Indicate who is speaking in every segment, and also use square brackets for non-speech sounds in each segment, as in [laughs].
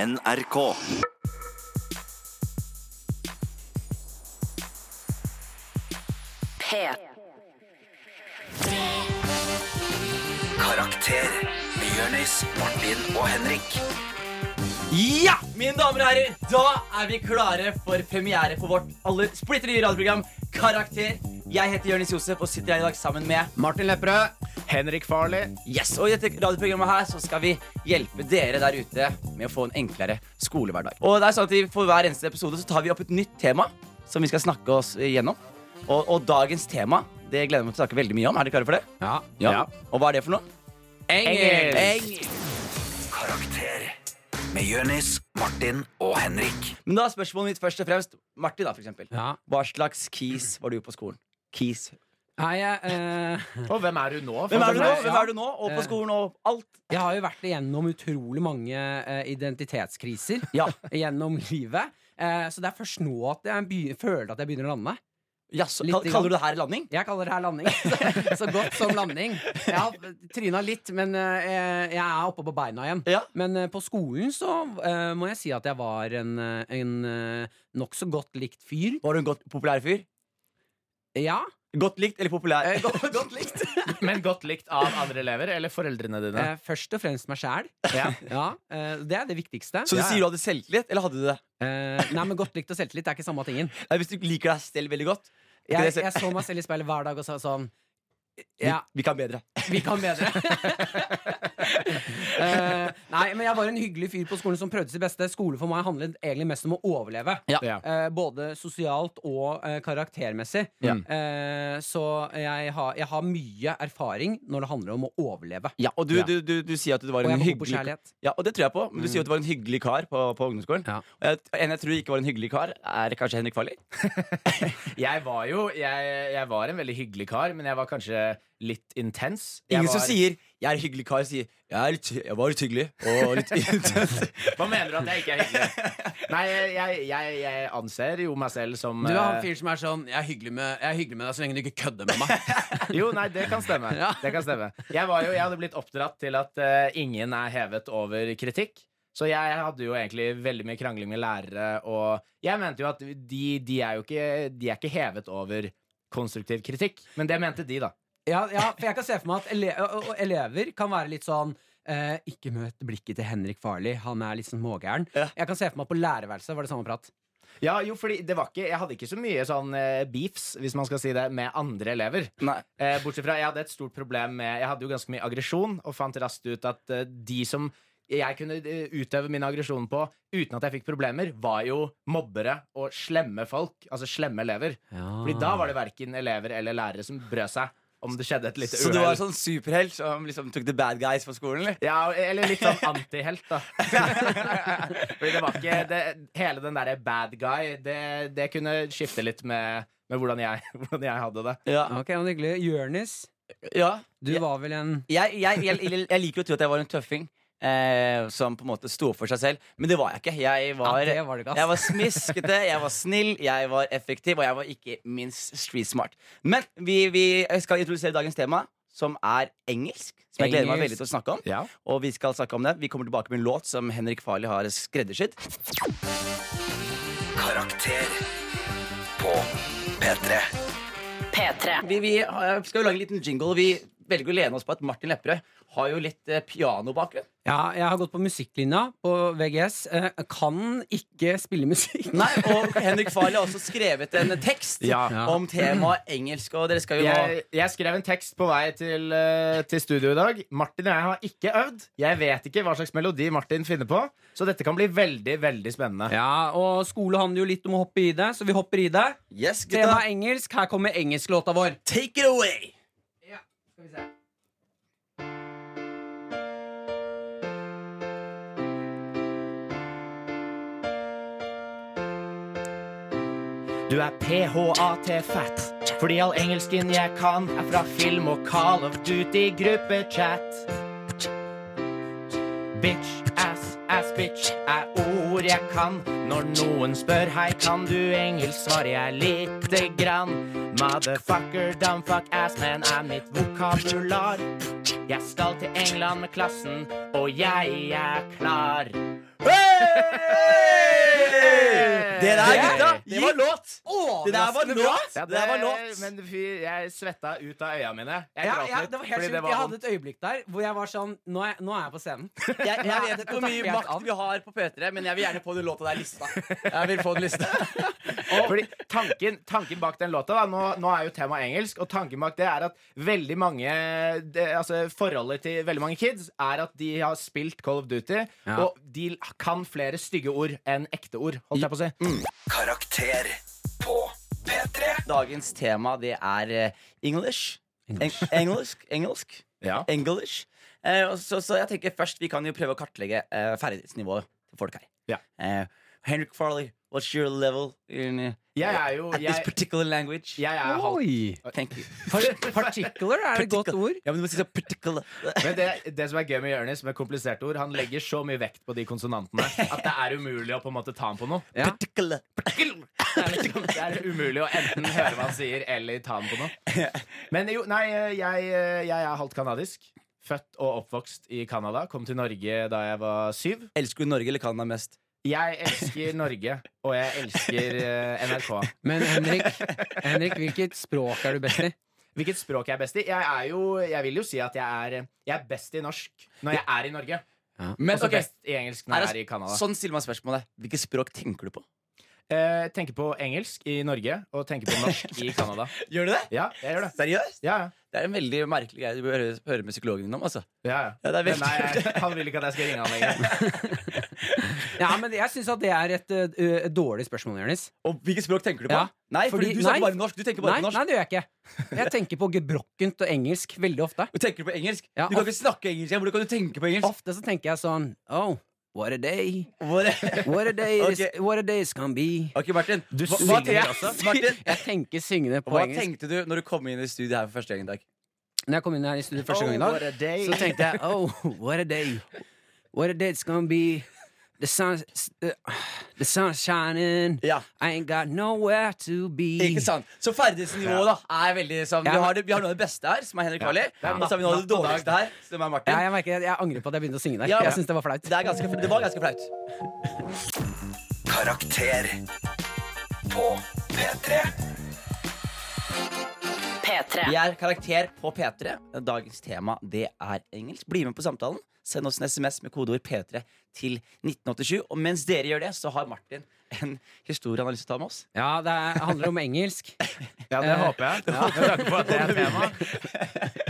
Speaker 1: NRK.
Speaker 2: P.
Speaker 3: Karakter med Jørnis, Martin og Henrik.
Speaker 4: Ja, mine damer og herrer, da er vi klare for premiere på vårt aller splitter nye radioprogram Karakter. Jeg heter Jonis Josef og sitter her i dag sammen med
Speaker 5: Martin Lepperød. Henrik Farley.
Speaker 4: Yes, og I dette radioprogrammet her så skal vi hjelpe dere der ute med å få en enklere skolehverdag. Og det er sånn at i- For hver eneste episode så tar vi opp et nytt tema som vi skal snakke oss gjennom. Og, og dagens tema det gleder jeg meg til å snakke veldig mye om. Er dere klare for det?
Speaker 5: Ja.
Speaker 4: Og hva er det for noe?
Speaker 5: Engelsk.
Speaker 3: Karakter med Jørnis, Martin og Henrik.
Speaker 4: Men da er spørsmålet mitt først og fremst Martin, da, for eksempel.
Speaker 5: Ja.
Speaker 4: Hva slags keys var du på skolen? Keys.
Speaker 5: Nei, jeg, eh,
Speaker 6: Og hvem er du nå?
Speaker 4: Hvem er du nå?
Speaker 5: Ja.
Speaker 4: Hvem er du nå? Og på skolen og alt.
Speaker 5: jeg har jo vært igjennom utrolig mange eh, identitetskriser
Speaker 4: Ja.
Speaker 5: gjennom livet. Eh, så det er først nå at jeg begyn- føler at jeg begynner å lande.
Speaker 4: Jaså,
Speaker 5: Litt
Speaker 4: kall-
Speaker 5: grann.
Speaker 4: kaller du det her landing?
Speaker 5: Jeg kaller det her landing. [laughs] Så, så godt som landing. Jeg har tryna litt, men eh, jeg er oppe på beina igjen.
Speaker 4: Ja.
Speaker 5: Men eh, på skolen så eh, må jeg si at jeg var en, eh, en eh, nokså godt likt fyr.
Speaker 4: Var du en godt populær fyr?
Speaker 5: Ja.
Speaker 4: Godt likt eller populær?
Speaker 5: eh, Godt, godt likt.
Speaker 6: Men godt likt av andre elever eller foreldrene dine?
Speaker 5: [laughs] Eh, Først og fremst meg sjæl.
Speaker 6: Ja.
Speaker 5: Ja, eh, det er det viktigste.
Speaker 4: Så du
Speaker 5: Ja,
Speaker 4: sier
Speaker 5: ja.
Speaker 4: du hadde selvtillit, eller hadde du det?
Speaker 5: Eh, Nei, men Godt likt og selvtillit det er ikke samme tingen.
Speaker 4: Nei, hvis du liker deg selv veldig godt, er ikke
Speaker 5: Jeg,
Speaker 4: det selv-
Speaker 5: jeg så meg selv i speilet hver dag og sa sånn Ja,
Speaker 4: vi, vi kan bedre.
Speaker 5: vi kan bedre. Eh, nei, men jeg var en hyggelig fyr på skolen som prøvde sitt beste. Skole for meg handlet egentlig mest om å overleve.
Speaker 6: Ja.
Speaker 5: Eh, både sosialt og eh, karaktermessig.
Speaker 6: Ja.
Speaker 5: Eh, så jeg har, jeg har mye erfaring når det handler om å overleve.
Speaker 4: Ja, og du,
Speaker 6: Ja.
Speaker 4: du, du, du sier at du var
Speaker 5: Og
Speaker 4: en
Speaker 5: jeg var god på
Speaker 4: hyggelig Mm.
Speaker 5: kjærlighet.
Speaker 4: Ja, og det tror jeg på. Men du sier at du var en hyggelig kar på, på ungdomsskolen.
Speaker 5: Ja.
Speaker 4: Og jeg, en jeg tror ikke var en hyggelig kar, er kanskje Henrik Farley.
Speaker 6: Jeg var jo jeg, jeg var en veldig hyggelig kar, men jeg var kanskje litt intens. Jeg
Speaker 4: Ingen som
Speaker 6: var-
Speaker 4: sier 'jeg er en hyggelig kar', sier 'jeg, er litt, jeg var litt hyggelig'. Og litt [laughs] intens.
Speaker 6: [laughs] Hva mener du at jeg ikke er hyggelig? Nei, jeg, jeg, jeg anser jo meg selv som
Speaker 5: Du er han
Speaker 6: eh,
Speaker 5: fyren som er sånn Jeg er hyggelig med, jeg er hyggelig med deg så lenge du ikke kødder med [laughs] meg.
Speaker 6: Jo, nei, det kan stemme.
Speaker 5: Ja.
Speaker 6: Det kan stemme. Jeg, var jo, jeg hadde blitt oppdratt til at eh, ingen er hevet over kritikk. Så jeg hadde jo egentlig veldig mye krangling med lærere, og jeg mente jo at de, de er jo ikke, de er ikke hevet over konstruktiv kritikk. Men det mente de, da.
Speaker 5: Ja, ja, for jeg kan se for meg at ele og- og elever kan være litt sånn eh, Ikke møt blikket til Henrik Farley, han er litt sånn smågæren.
Speaker 4: Ja.
Speaker 5: Jeg kan se for meg at på lærerværelset var det samme prat.
Speaker 6: Ja, jo, fordi det var ikke, Jeg hadde ikke så mye sånn eh, beefs, hvis man skal si det, med andre elever.
Speaker 4: Nei.
Speaker 6: Eh, bortsett fra jeg hadde et stort problem med Jeg hadde jo ganske mye aggresjon, og fant raskt ut at eh, de som jeg kunne eh, utøve min aggresjon på uten at jeg fikk problemer, var jo mobbere og slemme folk. Altså slemme elever. Fordi da var det verken elever eller lærere som brød seg om det skjedde et lite
Speaker 4: Så du var
Speaker 6: uhell.
Speaker 4: sånn superhelt som liksom tok the bad guys på skolen, eller?
Speaker 6: Ja, eller litt sånn antihelt, da. [laughs] Fordi det var ikke det, Hele den derre bad guy, det, det kunne skifte litt med, med hvordan, jeg, [laughs] hvordan jeg hadde det.
Speaker 4: Ja.
Speaker 5: Ok, men hyggelig. Jørnis,
Speaker 4: ja.
Speaker 5: du var vel en
Speaker 4: jeg, jeg, jeg, jeg liker å tro at jeg var en tøffing. Eh, som på en måte sto opp for seg selv. Men det var jeg ikke. Jeg var,
Speaker 5: Ja, det var du ikke, ass.
Speaker 4: jeg var smiskete, jeg var snill, jeg var effektiv, og jeg var ikke minst street smart. Men vi, vi skal introdusere dagens tema, som er engelsk. Som jeg gleder meg
Speaker 5: Engelsk.
Speaker 4: veldig til å snakke om.
Speaker 6: Ja.
Speaker 4: Og vi skal snakke om det Vi kommer tilbake med en låt som Henrik Farley har skreddersydd.
Speaker 3: Karakter på P3.
Speaker 2: P3.
Speaker 4: Vi, vi har- skal jo lage en liten jingle. og Vi velger å lene oss på at Martin Lepperød har jo litt eh, pianobakgrunn.
Speaker 5: Ja, jeg har gått på musikklinja på VGS. Eh, kan ikke spille musikk.
Speaker 4: Nei, og Henrik Farley har også skrevet en tekst
Speaker 6: Ja.
Speaker 4: om temaet engelsk. Og dere skal jo nå
Speaker 6: Jeg, jeg skrev en tekst på vei til, eh, til studio i dag. Martin og jeg har ikke øvd. Jeg vet ikke hva slags melodi Martin finner på, så dette kan bli veldig veldig spennende.
Speaker 5: Ja, og skole handler jo litt om å hoppe i det, så vi hopper i det.
Speaker 4: Yes, gutta.
Speaker 5: Tema er engelsk. Her kommer engelsklåta vår.
Speaker 4: Take it away!
Speaker 6: Du er PHAT-fat Fordi all engelsken jeg kan Er fra film og Call of Duty gruppechat Bitch, ass, ass, bitch Er ord jeg kan Når noen spør Hei, kan du engelsk? Svarer jeg lite grann Motherfucker, dumbfuck, ass Men er mitt vokabular Jeg skal til England med klassen Og jeg er klar Hey!
Speaker 4: Det der, gutta, det var låt! Det der var
Speaker 5: Overraskende bra!
Speaker 4: låt! Det der var låt.
Speaker 6: Men fy, jeg svetta ut av øya mine. Jeg
Speaker 5: Ja,
Speaker 6: gråt
Speaker 5: ja,
Speaker 6: litt,
Speaker 5: det var helt
Speaker 6: fordi
Speaker 5: sjukt.
Speaker 6: det var
Speaker 5: Jeg
Speaker 6: vondt.
Speaker 5: hadde et øyeblikk der hvor jeg var sånn Nå er, nå er jeg på scenen. [laughs]
Speaker 4: Jeg, jeg vet
Speaker 5: Dette
Speaker 4: ikke hvor
Speaker 5: tar
Speaker 4: mye
Speaker 5: helt
Speaker 4: makt
Speaker 5: av.
Speaker 4: vi har på P3, men jeg vil gjerne få den låta der i lista. Jeg vil få den lista
Speaker 6: Fordi tanken, tanken bak den låta da, nå, nå er jo temaet engelsk, og tanken bak det er at veldig mange det, Altså Forholdet til veldig mange kids er at de har spilt Call of Duty,
Speaker 5: Ja.
Speaker 6: og de l- kan flere stygge ord enn ekte ord. Holdt jeg på å si
Speaker 5: Mm.
Speaker 3: Karakter på P3.
Speaker 4: Dagens tema det er eh, English. Eng [laughs] engelsk. Engelsk.
Speaker 6: Ja.
Speaker 4: English. Eh, og så, så jeg tenker først vi kan jo prøve å kartlegge eh, ferdighetsnivået til folk her.
Speaker 6: Ja.
Speaker 4: Eh, Henrik Farley, what's your level in, eh,
Speaker 6: Jeg er jo
Speaker 4: at this
Speaker 6: Jeg,
Speaker 4: particular language?
Speaker 6: jeg er halv...
Speaker 5: Oi!
Speaker 6: [laughs]
Speaker 4: Thank you.
Speaker 5: Particular er et godt ord.
Speaker 4: Ja, men du må si sånn så particular.
Speaker 6: Men det, det som er gøy med Jonis, med kompliserte ord, han legger så mye vekt på de konsonantene at det er umulig å på en måte ta ham på noe.
Speaker 5: Ja.
Speaker 4: Particular.
Speaker 6: Det er, liksom, det er umulig å enten høre hva han sier, eller ta den på noe.
Speaker 4: [laughs]
Speaker 6: Men jo, nei, eh, jeg, jeg er halvt kanadisk. Født og oppvokst i Canada. Kom til Norge da jeg var syv.
Speaker 4: Elsker du Norge eller Canada mest?
Speaker 6: Jeg elsker Norge, og jeg elsker eh, NRK.
Speaker 5: Men Henrik, Henrik, hvilket språk er du best i?
Speaker 6: Hvilket språk jeg er best i? Jeg, er jo, jeg vil jo si at jeg er, jeg er best i norsk når jeg er i Norge.
Speaker 4: Men,
Speaker 6: Og så
Speaker 4: ok,
Speaker 6: best i engelsk når jeg er i Canada.
Speaker 4: Sånn stiller man spørsmålet. Hvilket språk tenker du på?
Speaker 6: Eh, tenker på engelsk i Norge og tenker på norsk
Speaker 4: [laughs]
Speaker 6: i Canada.
Speaker 4: Gjør du det?
Speaker 6: Ja, jeg gjør det.
Speaker 4: Seriøst?
Speaker 6: Ja, ja.
Speaker 4: Det er en veldig merkelig greie du bør høre, høre med psykologen din om. altså
Speaker 6: ja,
Speaker 4: Ja, det er
Speaker 6: Men
Speaker 4: veldig-
Speaker 6: nei, jeg, han vil ikke at jeg skal ringe han lenger.
Speaker 5: Ja, men jeg syns at det er et ø, et dårlig spørsmål, Jonis.
Speaker 4: Og hvilket språk tenker du på?
Speaker 5: Ja.
Speaker 4: Nei, fordi, du
Speaker 5: Fordi-
Speaker 4: snakker
Speaker 5: nei.
Speaker 4: bare norsk. Du tenker bare
Speaker 5: Nei,
Speaker 4: på norsk.
Speaker 5: nei, det gjør jeg ikke. Jeg tenker på gebrokkent og engelsk veldig ofte.
Speaker 4: Du tenker på engelsk.
Speaker 5: Ja,
Speaker 4: du kan
Speaker 5: of-
Speaker 4: ikke snakke engelsk. ja. Hvordan kan du tenke på engelsk?
Speaker 5: Ofte så tenker jeg sånn Oh, what a day.
Speaker 4: Hvor-
Speaker 5: What a day is,
Speaker 4: Ok.
Speaker 5: what a day is gonna be.
Speaker 4: [laughs] Ok, Martin. Hva, hva,
Speaker 5: synger
Speaker 4: tenker-
Speaker 5: også.
Speaker 4: [laughs] Martin,
Speaker 5: Jeg tenker syngende på
Speaker 4: hva
Speaker 5: engelsk.
Speaker 4: tenkte du når du kom inn i studiet her for første gang i dag?
Speaker 5: Når jeg kom inn her i studio første
Speaker 4: Oh,
Speaker 5: gang i dag,
Speaker 6: dag.
Speaker 5: så tenkte jeg Oh, what a day. What a day it's gonna be. The sun uh, The sun's shining.
Speaker 4: Ja,
Speaker 5: I ain't got nowhere to be.
Speaker 4: ikke sant? Så ferdighetsnivået da er veldig sånn
Speaker 5: Ja,
Speaker 4: Vi
Speaker 5: men-
Speaker 4: har, det, vi har noe av det beste her, som er Henrik Farley.
Speaker 6: er
Speaker 4: Og så har vi noe av det
Speaker 6: natt og dag.
Speaker 4: dårligste her, som er
Speaker 5: Ja,
Speaker 4: Martin.
Speaker 5: jeg merker at jeg angrer på at jeg begynte å synge der.
Speaker 4: Ja.
Speaker 5: Jeg synes det var flaut.
Speaker 4: Det, er ganske, det var ganske flaut.
Speaker 3: Karakter på P3.
Speaker 1: P3.
Speaker 4: Vi er Karakter på P3. Dagens tema det er engelsk. Bli med på samtalen. Send oss en SMS med kodeord P3 til 1987. Og mens dere gjør det, så har Martin en historie han har lyst til å ta med oss.
Speaker 5: Ja, det er, handler om engelsk.
Speaker 6: [laughs]
Speaker 4: [laughs]
Speaker 6: Ja, det
Speaker 5: Eh,
Speaker 6: håper jeg. Med tanke på at det er tema.
Speaker 5: [laughs]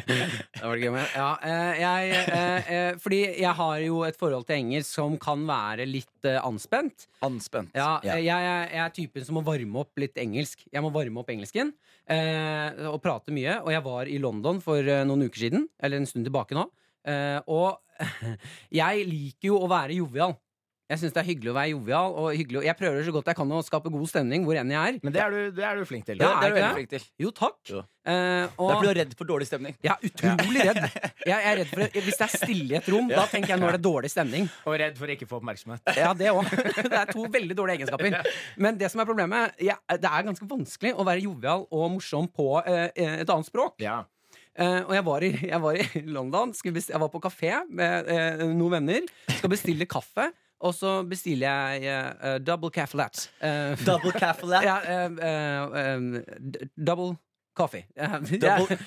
Speaker 5: Det var det gøy med. Ja, eh, jeg, eh, eh, fordi jeg har jo et forhold til engelsk som kan være litt eh, anspent.
Speaker 4: Anspent.
Speaker 5: Ja,
Speaker 4: Ja.
Speaker 5: eh, Jeg, jeg, jeg er typen som må varme opp litt engelsk. Jeg må varme opp engelsken eh, og prate mye. Og jeg var i London for eh, noen uker siden, eller en stund tilbake nå. Eh, og [laughs] jeg liker jo å være jovial. Jeg syns det er hyggelig å være jovial. Og hyggelig, å- jeg prøver så godt jeg kan å skape god stemning hvor enn jeg er.
Speaker 6: Men det er, du, det er du flink til.
Speaker 4: det
Speaker 5: Ja,
Speaker 4: er du
Speaker 5: ikke
Speaker 4: veldig
Speaker 5: det?
Speaker 4: flink til.
Speaker 5: Jo, takk.
Speaker 4: Jo.
Speaker 5: Eh,
Speaker 4: Da
Speaker 5: og
Speaker 4: blir du redd for dårlig stemning.
Speaker 5: jeg er utrolig redd. Jeg er redd for det. Hvis det er stille i
Speaker 4: [laughs]
Speaker 5: et rom, da tenker jeg nå er det dårlig stemning.
Speaker 6: Og redd for ikke å få oppmerksomhet.
Speaker 5: Ja, det òg. [laughs] Det er to veldig dårlige egenskaper. Men det som er problemet, ja, det er ganske vanskelig å være jovial og morsom på eh, et annet språk.
Speaker 6: Ja.
Speaker 5: Eh, og jeg var i, jeg var i London, skulle besti- jeg var på kafé med eh, noen venner, skal bestille kaffe, og så bestiller jeg eh, eh, double caffelat. Eh,
Speaker 4: Double caffeine.
Speaker 5: ja, eh, eh, eh, d- double coffee. [laughs] Eh,
Speaker 4: Double-
Speaker 5: ja,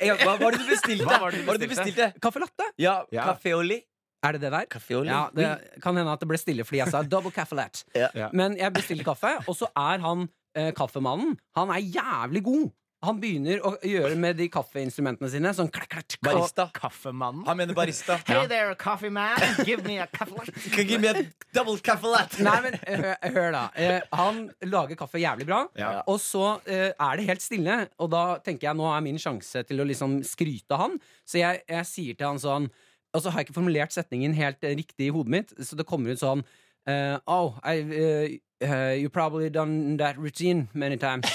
Speaker 4: Ja, Hva var det du bestilte?
Speaker 6: Hva var det du
Speaker 4: Hva var det du
Speaker 6: bestilte?
Speaker 4: bestilte?
Speaker 5: Caffè latte?
Speaker 4: Ja,
Speaker 6: Ja.
Speaker 4: Café au lait.
Speaker 5: Er det det der?
Speaker 4: Café au lait.
Speaker 5: Ja, det kan hende at det ble stille fordi jeg sa double caffelat.
Speaker 4: Ja.
Speaker 6: Ja.
Speaker 5: Men jeg bestilte kaffe, og så er han eh, kaffemannen Han er jævlig god. Han begynner å gjøre med de kaffeinstrumentene sine. Sånn klakk, klakk, klakk, og-
Speaker 4: Barista.
Speaker 6: Kaffemannen.
Speaker 4: Han mener barista.
Speaker 6: Hey there, coffee man. Give me a
Speaker 4: [laughs]
Speaker 6: coffee.
Speaker 4: Can give me a double caffelat.
Speaker 5: [laughs] Nei, men hør, hør da. Eh, han lager kaffe jævlig bra,
Speaker 6: Ja.
Speaker 5: og så eh, er det helt stille. Og da tenker jeg nå er min sjanse til å liksom skryte av han, så jeg, jeg sier til han sånn Og så har jeg ikke formulert setningen helt eh, riktig i hodet mitt, så det kommer ut sånn eh, Oh, I, eh, eh, you probably done that routine
Speaker 6: [laughs]
Speaker 5: many times.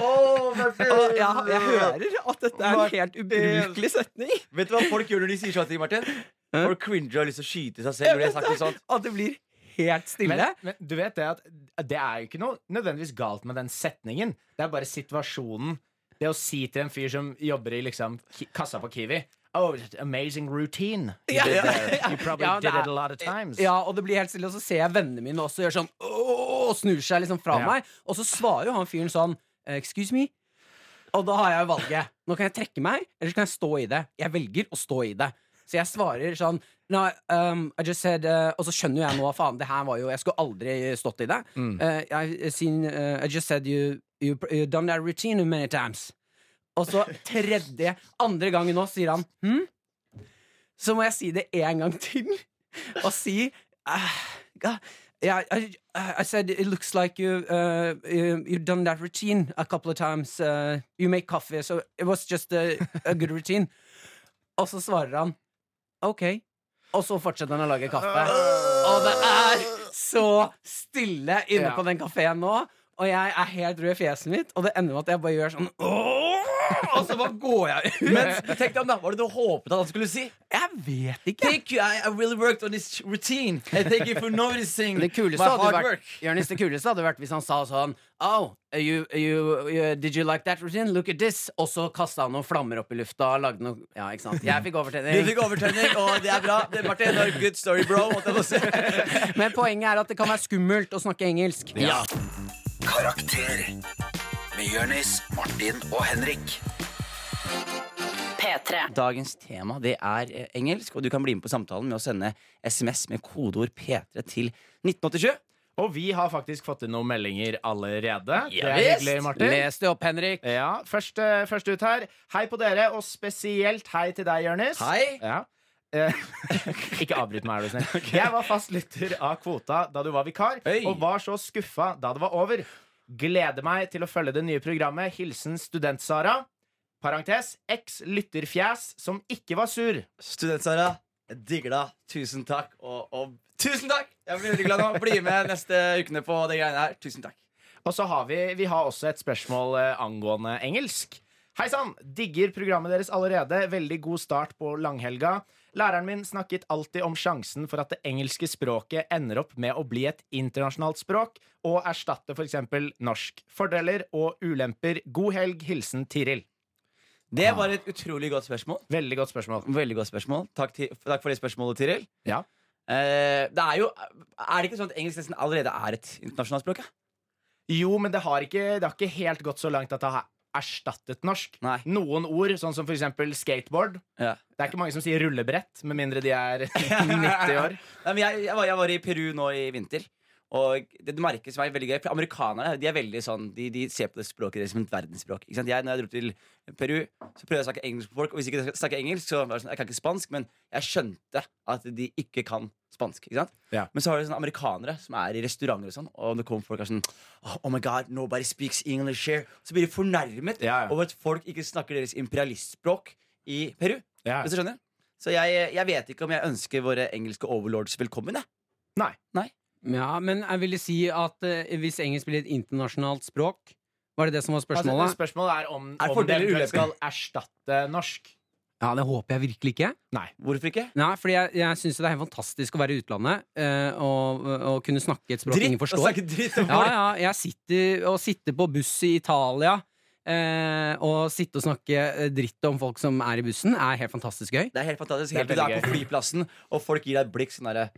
Speaker 5: Og jeg, jeg hører at dette er en helt ubrukelig setning.
Speaker 4: Vet du hva folk gjør når de sier sånne ting, Martin? Folk cringer og har lyst til å skyte seg selv. Når de har sagt noe sånt
Speaker 5: [laughs] At det blir helt
Speaker 6: Men,
Speaker 5: stille.
Speaker 6: men du vet det at det er jo ikke noe nødvendigvis galt med den setningen. Det er bare situasjonen. Det å si til en fyr som jobber i liksom ki- kassa på Kiwi Oh, it's an amazing routine. You,
Speaker 5: Ja.
Speaker 6: did there. you probably
Speaker 5: Ja, det
Speaker 6: did it
Speaker 5: er-
Speaker 6: a lot of times.
Speaker 5: Ja, og det blir helt stille, og så ser jeg vennene mine også gjøre sånn «Åh», og snur seg liksom fra
Speaker 6: Ja.
Speaker 5: meg. Og så svarer jo han fyren sånn Excuse me. Og da har jeg jo valget. Nå kan jeg trekke meg, eller så kan jeg stå i det. Jeg velger å stå i det. Så jeg svarer sånn no, um, I just said, uh, Og så skjønner jeg nå, faen, det her var jo Jeg skulle aldri stått i det.
Speaker 6: Mm.
Speaker 5: Uh, I've seen, uh, I just said you, you, you done that routine many times. Og så tredje, andre gangen nå, sier han hm? Så må jeg si det en gang til. [laughs] Og si uh, yeah, I, I said it looks like you, uh, you you've done that routine a couple of times. Uh, you make coffee, so it was just a, a good routine. Og så svarer han OK. Og så fortsetter han å lage kaffe. Og det er så stille inne
Speaker 6: Ja.
Speaker 5: på den kafeen nå. Og jeg er helt rød i fjeset mitt, og det ender med at jeg bare gjør sånn «Åh!» Og så bare går jeg ut.
Speaker 4: Men tenk deg om da, hva var det du håpet at han skulle si?
Speaker 5: jeg vet ikke.
Speaker 4: Thank you, I, I really worked on this routine And thank you for noticing
Speaker 5: Det kuleste,
Speaker 4: my
Speaker 5: hadde
Speaker 4: hard
Speaker 5: jo vært,
Speaker 4: work
Speaker 5: Jørnis, det kuleste hadde vært hvis han sa sånn Oh, you, you, you, did you like that routine? Look at this. Og så kasta han noen flammer opp i lufta og lagde noe Ja, ikke sant. Jeg fikk
Speaker 4: Du
Speaker 5: overtenning.
Speaker 4: fikk overtenning, og det er bra Det ble en good story, bro måtte jeg bare si.
Speaker 5: [laughs] Men poenget er at det kan være skummelt å snakke engelsk.
Speaker 4: Ja.
Speaker 3: Karakter med Jørnis, Martin og Henrik.
Speaker 1: P3.
Speaker 4: Dagens tema det er eh, engelsk, og du kan bli med på samtalen med å sende SMS med kodeord P3 til 1987.
Speaker 6: Og vi har faktisk fått inn noen meldinger allerede. Det
Speaker 4: Ja,
Speaker 6: er
Speaker 4: visst.
Speaker 6: hyggelig, Martin.
Speaker 5: Les det opp, Henrik.
Speaker 6: Ja, først, eh, først ut her. Hei på dere, og spesielt hei til deg, Jørnis.
Speaker 4: Hei.
Speaker 6: Ja. Eh, [laughs] ikke avbryt meg, er du snill.
Speaker 4: [laughs]
Speaker 6: Jeg var fast lytter av Kvota da du var vikar,
Speaker 4: Hei.
Speaker 6: og var så skuffa da det var over. Gleder meg til å følge det nye programmet. Hilsen Student-Sara. Parentes eks lytterfjes som ikke var sur.
Speaker 4: Student-Sara, jeg digger deg. Tusen takk. Og, og tusen takk! Jeg blir veldig glad nå. Bli med neste ukene på de greiene her. Tusen takk.
Speaker 6: Og så har vi, vi har også et spørsmål eh, angående engelsk. Hei sann! Digger programmet deres allerede. Veldig god start på langhelga. Læreren min snakket alltid om sjansen for at det engelske språket ender opp med å bli et internasjonalt språk og erstatte f.eks. norsk. Fordeler og ulemper. God helg. Hilsen Tiril.
Speaker 4: Det var et utrolig godt spørsmål.
Speaker 6: Veldig godt spørsmål.
Speaker 4: Veldig godt spørsmål. Takk, til, takk for det spørsmålet, Tiril.
Speaker 6: Ja.
Speaker 4: Eh, det er jo Er det ikke sånn at engelsk nesten allerede er et internasjonalt språk? ja?
Speaker 6: Jo, men det har ikke, det har ikke helt gått så langt at det har erstattet norsk.
Speaker 4: Nei.
Speaker 6: Noen ord, sånn som f.eks. skateboard.
Speaker 4: Ja.
Speaker 6: Det er ikke mange som sier rullebrett, med mindre de er 90 år.
Speaker 4: Nei, men jeg, jeg, var, jeg var i Peru nå i vinter. Og det det merkes meg veldig gøy For Amerikanere de er veldig sånn De, de ser på det språket deres som et verdensspråk. Ikke sant? Jeg, når jeg dro til Peru, Så prøvde jeg å snakke engelsk med folk. Og hvis ikke jeg snakker engelsk, så var det sånn Jeg kan ikke spansk, men jeg skjønte at de ikke kan spansk. Ikke sant?
Speaker 6: Ja.
Speaker 4: Men så har du sånne amerikanere som er i restauranter og sånn, og det kommer folk og er sånn oh, oh my god, nobody speaks English here. Så blir de fornærmet
Speaker 6: Ja, ja.
Speaker 4: over at folk ikke snakker deres imperialistspråk i Peru.
Speaker 6: Ja.
Speaker 4: Hvis du skjønner? Så jeg, jeg vet ikke om jeg ønsker våre engelske overlords velkommen. Jeg.
Speaker 6: Nei.
Speaker 5: Ja, men jeg ville si at eh, hvis engelsk blir et internasjonalt språk Var det det som var
Speaker 6: Altså,
Speaker 5: spørsmålet?
Speaker 6: spørsmålet er om,
Speaker 4: Er
Speaker 6: om det
Speaker 4: fordeler
Speaker 6: eventuelt skal
Speaker 4: ulemper?
Speaker 6: erstatte norsk.
Speaker 5: Ja, det håper jeg virkelig ikke.
Speaker 4: Hvorfor ikke?
Speaker 5: Nei, fordi jeg, jeg syns det er helt fantastisk å være i utlandet eh, og, og kunne snakke et språk ingen
Speaker 4: å
Speaker 5: forstår.
Speaker 4: snakke dritt om
Speaker 5: Ja,
Speaker 4: folk.
Speaker 5: ja, jeg sitter og sitter på buss i Italia eh, og sitte og snakke eh, dritt om folk som er i bussen, er helt fantastisk gøy.
Speaker 4: Det er helt fantastisk.
Speaker 6: Det er
Speaker 4: Helt til du
Speaker 6: veldig
Speaker 4: er på flyplassen, og folk gir deg et blikk sånn derre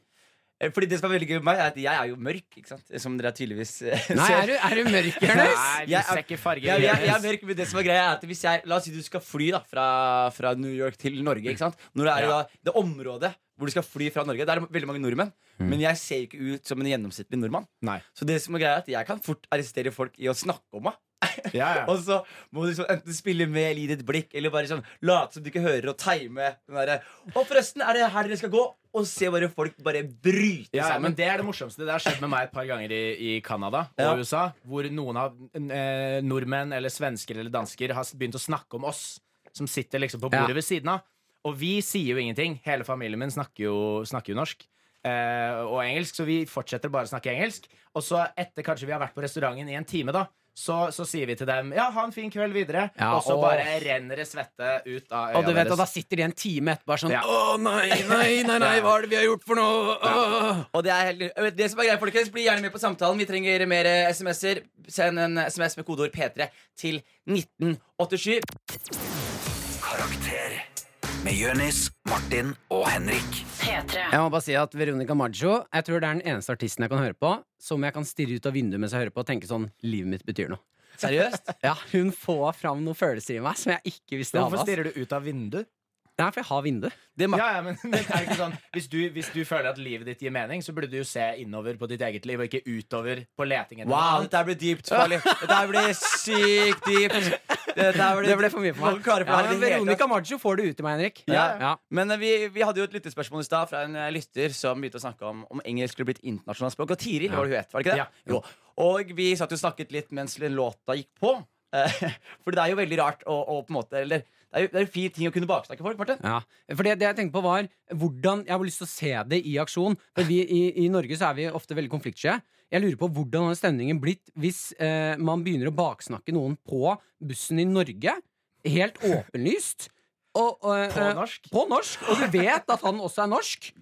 Speaker 4: fordi det som er veldig gøy med meg, er at jeg er jo mørk, ikke sant? som dere tydeligvis eh,
Speaker 5: Nei,
Speaker 4: ser.
Speaker 5: er du, er du mørk, Jonis?
Speaker 6: Nei, vi
Speaker 4: Jeg-
Speaker 6: ser ikke farger.
Speaker 4: Ja, [laughs] jeg, jeg
Speaker 6: Jonas.
Speaker 4: merker, men det som er greia er at hvis jeg, La oss si du skal fly da, fra, fra New York til Norge. Ikke sant? Når det er
Speaker 6: Ja.
Speaker 4: da, det området hvor du skal fly fra Norge, det er veldig mange nordmenn. Men jeg ser ikke ut som en gjennomsnittlig nordmann.
Speaker 6: Nei.
Speaker 4: Så det som er greia er at jeg kan fort arrestere folk i å snakke om meg.
Speaker 6: Ja, ja.
Speaker 4: Og så må du sånn enten spille med eller gi ditt blikk, eller bare sånn late som du ikke hører, og time den derre Og forresten, er det her dere skal gå? Og se bare folk bare bryte
Speaker 6: Ja, ja, Liksom. men
Speaker 4: sammen.
Speaker 6: Det er det morsomste. Det har skjedd med meg et par ganger i, i Canada og
Speaker 4: Ja.
Speaker 6: USA. Hvor noen av eh, nordmenn eller svensker eller dansker har s- begynt å snakke om oss som sitter liksom på
Speaker 5: Ja.
Speaker 6: bordet ved siden av. Og vi sier jo ingenting. Hele familien min snakker jo, snakker jo norsk. eh, og engelsk, så vi fortsetter bare å snakke engelsk. Og så etter kanskje vi har vært på restauranten i en time, da så, så sier vi til dem Ja, ha en fin kveld videre.
Speaker 5: Ja,
Speaker 6: og så
Speaker 5: og-
Speaker 6: bare renner det svette ut av
Speaker 5: Og du
Speaker 6: øya
Speaker 5: vet at da
Speaker 6: deres.
Speaker 5: sitter de en time etterpå og er sånn
Speaker 6: Ja.
Speaker 5: Å nei, nei, nei, nei, hva er det vi har gjort for noe? Åh!»
Speaker 4: Og det er helt, det som er greia, folkens, bli gjerne med på samtalen. Vi trenger mer eh, SMS-er. Send en SMS med kodeord P3 til 1987.
Speaker 3: Karakter med Jonis, Martin og Henrik.
Speaker 1: P3.
Speaker 5: Jeg må bare si at Veronica Maggio Jeg tror det er den eneste artisten jeg kan høre på som jeg kan stirre ut av vinduet mens jeg hører på og tenke sånn Livet mitt betyr noe.
Speaker 4: [laughs] Seriøst?
Speaker 5: Ja, Hun får fram noen følelser i meg som jeg ikke visste jeg
Speaker 6: Hvorfor
Speaker 5: hadde. ass.
Speaker 6: stirrer du ut av vinduet?
Speaker 5: Nei, for jeg har vindu.
Speaker 4: Det ma-
Speaker 6: Ja, ja, [laughs] men, men er det ikke sånn hvis du, hvis du føler at livet ditt gir mening, så burde du jo se innover på ditt eget liv, og ikke utover på leting etter
Speaker 4: Wow,
Speaker 6: noe annet.
Speaker 4: dette her blir dypt, farlig. Dette her blir sykt
Speaker 5: [laughs]
Speaker 4: dypt. Dette her
Speaker 5: Det ble for mye for meg.
Speaker 4: Klare for
Speaker 5: Ja,
Speaker 4: det her i
Speaker 5: men
Speaker 4: det hele tatt.
Speaker 5: Veronica Maggio får det ut i meg, Henrik.
Speaker 4: Ja, ja.
Speaker 5: Ja.
Speaker 4: Men eh, vi, vi hadde jo et lyttespørsmål i stad fra en eh, lytter som begynte å snakke om om engelsk skulle blitt internasjonalt språk. Og Tiril var det hun het, var det ikke det?
Speaker 6: Ja.
Speaker 4: Jo. Og vi satt jo og snakket litt mens låta gikk på. Eh, [laughs] For det er jo veldig rart å, å på en måte Eller det er jo det er en fin ting å kunne baksnakke folk, Martin.
Speaker 5: Ja, for det, det jeg tenkte på var hvordan, Jeg har lyst til å se det i aksjon. For vi, i, I Norge så er vi ofte veldig konfliktsky. Jeg lurer på Hvordan hadde stemningen blitt hvis eh, man begynner å baksnakke noen på bussen i Norge? Helt åpenlyst. Og, og, eh,
Speaker 6: På norsk?
Speaker 5: På norsk, Og du vet at han også er norsk.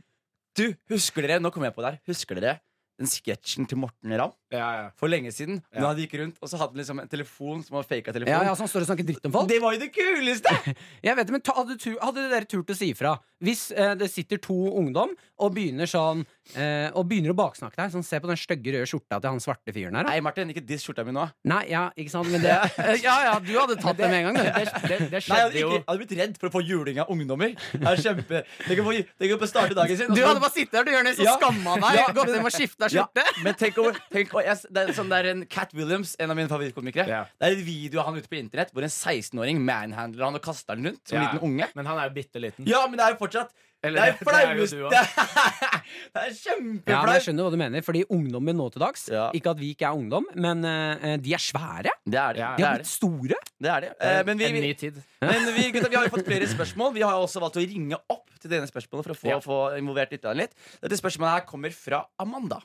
Speaker 4: Du, husker dere nå kom jeg på der, husker dere den sketsjen til Morten Ramm
Speaker 6: Ja, ja.
Speaker 4: for lenge siden?
Speaker 6: Ja.
Speaker 4: Når han gikk rundt, og så hadde han liksom en telefon som var faka telefon.
Speaker 5: Ja, ja, så han står og snakker dritt om folk.
Speaker 4: Det var jo det kuleste!
Speaker 5: Jeg vet det, men ta, hadde, tu, hadde dere turt å si ifra? Hvis eh, det sitter to ungdom og begynner sånn eh, Og begynner å baksnakke deg sånn, Se på den stygge røde skjorta til han svarte fyren her. da.
Speaker 4: Nei, Martin, ikke diss skjorta mi nå.
Speaker 5: Nei, ja, ikke sant, men det Ja, [laughs] ja, du hadde tatt det med en gang, du.
Speaker 6: Det, det
Speaker 4: Nei, jeg hadde,
Speaker 6: skjedde
Speaker 4: ikke,
Speaker 6: jo
Speaker 4: jeg hadde blitt redd for å få juling av ungdommer. Det er kjempe Tenk å få- tenk å få starte dagen sin og
Speaker 5: Du
Speaker 4: så-
Speaker 5: hadde bare sittet der, du, Jonis, og
Speaker 4: Ja.
Speaker 5: skamma deg.
Speaker 4: Ja.
Speaker 5: Gått hjem og skifta
Speaker 4: ja,
Speaker 5: skjorte.
Speaker 4: Men tenk over, tenk over jeg, det, er, sånn, det er en Cat Williams, en av mine favorittkomikere.
Speaker 6: Ja.
Speaker 4: Det er en video av han ute på internett hvor en 16-åring manhandler han og kaster han rundt som en
Speaker 6: Ja,
Speaker 4: liten unge.
Speaker 6: Men han er jo bitte liten.
Speaker 4: Ja, men det er jo fortsatt
Speaker 6: Eller
Speaker 4: Det er
Speaker 6: det- det er jo
Speaker 4: flauest
Speaker 6: du også.
Speaker 4: Det er, [laughs] det er
Speaker 5: Ja, men jeg
Speaker 4: kjempeflaut!
Speaker 5: skjønner hva du mener, fordi ungdommen nå til dags
Speaker 4: Ja.
Speaker 5: Ikke at vi ikke er ungdom, men eh, de er svære.
Speaker 4: det er det.
Speaker 6: Ja,
Speaker 5: De
Speaker 4: det,
Speaker 5: har
Speaker 4: er det.
Speaker 5: blitt store.
Speaker 4: det, er det. Eh, men vi,
Speaker 6: En ny tid.
Speaker 4: men vi, gutta, vi har jo fått flere spørsmål. Vi har jo også valgt å ringe opp til denne spørsmålet for å få,
Speaker 6: Ja.
Speaker 4: få involvert lytterne litt. Dette spørsmålet her kommer fra Amanda.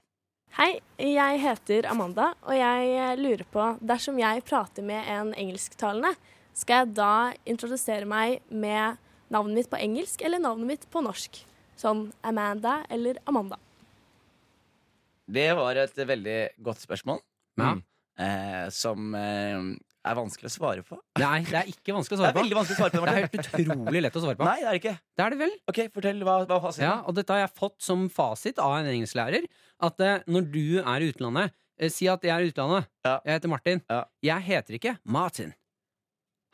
Speaker 2: Hei, jeg heter Amanda, og jeg eh, lurer på Dersom jeg prater med en engelsktalende, skal jeg da introdusere meg med navnet mitt på engelsk eller navnet mitt på norsk? Sånn Amanda eller Amanda.
Speaker 4: Det var et veldig godt spørsmål.
Speaker 5: Ja.
Speaker 4: Eh, som eh, er vanskelig å svare på.
Speaker 5: Nei, det er ikke vanskelig å
Speaker 4: Det
Speaker 5: svare
Speaker 4: er veldig
Speaker 5: på.
Speaker 4: vanskelig å svare på.
Speaker 5: Det er
Speaker 4: Martin.
Speaker 5: helt utrolig lett å svare på.
Speaker 4: Nei, det er det ikke.
Speaker 5: Det er det vel?
Speaker 4: Ok, Fortell hva, hva fasiten
Speaker 5: Ja, og dette har jeg fått som fasit av en engelsklærer. At eh, når du er i utlandet eh, Si at jeg er i utlandet.
Speaker 4: Ja.
Speaker 5: Jeg heter Martin.
Speaker 4: Ja.
Speaker 5: Jeg heter ikke Martin.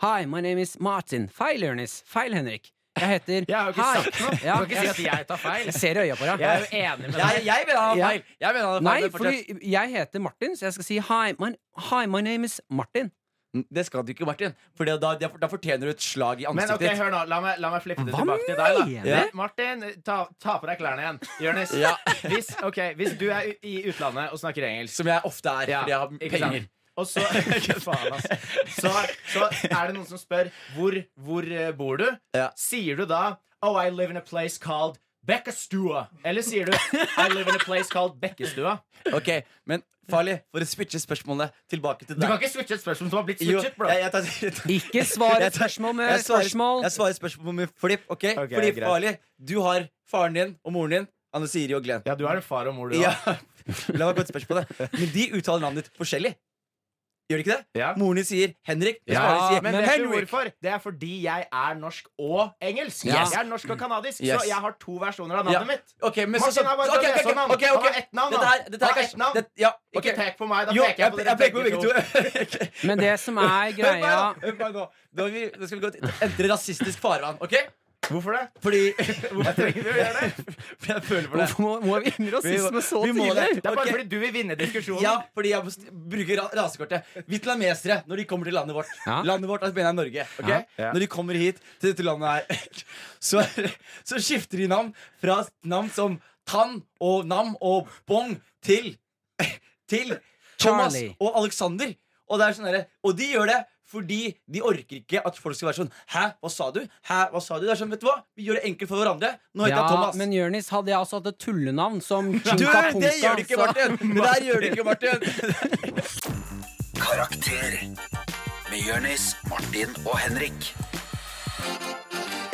Speaker 5: Hi, my name is Martin. Feil, Jonis. Feil, Henrik. Jeg
Speaker 4: [laughs]
Speaker 5: heter
Speaker 6: Jeg har jo ikke
Speaker 5: Hi.
Speaker 6: sagt noe.
Speaker 5: Ja,
Speaker 6: Du kan ikke si at jeg tar feil.
Speaker 5: jeg ser i øya på deg.
Speaker 6: Jeg er jo enig med
Speaker 4: Jeg,
Speaker 6: deg.
Speaker 4: jeg mener han
Speaker 5: Ja.
Speaker 4: har feil! Jeg mener han har feil.
Speaker 5: Nei,
Speaker 4: men fortsett.
Speaker 5: fordi jeg heter Martin, så jeg skal si hi, my, hi, my name is Martin.
Speaker 4: Mm, Det skal du ikke, Martin. For det- da, da fortjener du et slag i
Speaker 6: Men
Speaker 4: ansiktet
Speaker 6: ok, hør nå, la meg, la meg flippe det
Speaker 5: Hva
Speaker 6: tilbake til deg. da
Speaker 5: mener
Speaker 6: Ja. Martin, ta, ta på deg klærne igjen. Jonis,
Speaker 4: Ja.
Speaker 6: hvis, ok, hvis du er u- i utlandet og snakker engelsk
Speaker 4: Som jeg ofte er, fordi jeg har
Speaker 6: ikke sant?
Speaker 4: penger. [laughs]
Speaker 6: Og så, Fy faen, altså. så, så er det noen som spør hvor, hvor eh, bor du?
Speaker 4: Ja.
Speaker 6: Sier du da Oh, I live in a place called Bekkestua. Eller sier du I live in a place called Bekkestua?
Speaker 4: Ok, Men farlig, for å switche spørsmålet tilbake til
Speaker 6: Du kan
Speaker 4: deg.
Speaker 6: ikke switche et spørsmål som har blitt
Speaker 4: Jo,
Speaker 6: switchet, bro.
Speaker 4: jeg, jeg tar, jeg tar,
Speaker 5: Ikke svar
Speaker 4: [laughs] Jeg
Speaker 5: et
Speaker 4: tar-
Speaker 5: spørsmål med
Speaker 4: jeg svarer,
Speaker 5: spørsmål.
Speaker 4: Jeg svarer spørsmål med flipp. ok?
Speaker 6: Ok,
Speaker 4: Fordi
Speaker 6: greit.
Speaker 4: farlig, du har faren din og moren din, Anne Siri og Glenn.
Speaker 6: Ja, du er en far og mor, du
Speaker 4: Ja.
Speaker 6: også.
Speaker 4: [laughs] La meg gå til spørsmålet. Men de uttaler navnet ditt forskjellig. Gjør de ikke det?
Speaker 6: Ja.
Speaker 4: Moren din sier Henrik. mens
Speaker 5: Ja,
Speaker 4: faren din sier
Speaker 6: Men vet du
Speaker 4: Henrik.
Speaker 6: hvorfor? Det er fordi jeg er norsk og engelsk.
Speaker 4: Yes.
Speaker 6: Jeg er norsk og kanadisk,
Speaker 4: Yes.
Speaker 6: så jeg har to versjoner av
Speaker 4: Ja.
Speaker 6: navnet mitt.
Speaker 4: Ok, men så, så,
Speaker 6: Martin har bare
Speaker 4: ok, ok,
Speaker 6: et navn.
Speaker 4: ok, ok, ok.
Speaker 6: Han har ett navn.
Speaker 4: Dette her,
Speaker 6: han.
Speaker 4: dette her
Speaker 6: Han har
Speaker 4: kanskje
Speaker 6: ett navn.
Speaker 4: det, ja, ok.
Speaker 6: Ikke pek på meg, da
Speaker 4: Jo,
Speaker 6: peker jeg på dere
Speaker 4: peker på begge [laughs] to.
Speaker 5: Men det som
Speaker 4: [laughs]
Speaker 5: er
Speaker 4: Hør på meg
Speaker 5: greia
Speaker 4: nå, hør på meg nå. Da er vi, da skal vi gå til entre rasistisk farvann, OK?
Speaker 6: Hvorfor
Speaker 4: [laughs]
Speaker 6: det?
Speaker 4: Fordi
Speaker 6: Hvorfor trenger vi å gjøre det?
Speaker 4: For jeg føler for det.
Speaker 5: Hvorfor må, må vi inn i rasisme så
Speaker 4: vi må det.
Speaker 5: tidlig?
Speaker 6: Det er bare
Speaker 4: Ok.
Speaker 6: fordi du vil vinne diskusjonen.
Speaker 4: Ja, fordi jeg må- bruker ra- rasekortet. Vietnamesere, når de kommer til landet vårt
Speaker 5: Ja.
Speaker 4: Landet vårt er mener jeg Norge. ok?
Speaker 5: Ja.
Speaker 6: Ja.
Speaker 4: Når de kommer hit til dette landet her, [laughs] så, så skifter de navn fra navn som Tan og Nam og Bong til [laughs] Til Thomas
Speaker 5: Charlie.
Speaker 4: og Alexander. Og, det er sånn derre- og de gjør det fordi de orker ikke at folk skal være sånn Hæ, hva sa du? Hæ, hva sa du? Det er sånn, vet du hva? Vi gjør det enkelt for hverandre. Nå heter
Speaker 5: Ja,
Speaker 4: jeg Thomas.
Speaker 5: men Jørnis, hadde jeg altså hatt et tullenavn som
Speaker 4: [laughs] Du,
Speaker 5: Chinka Punka altså.
Speaker 4: det gjør du ikke,
Speaker 5: så-
Speaker 4: Martin! Det der gjør du ikke, Martin.
Speaker 3: Karakter med Jonis, Martin og Henrik.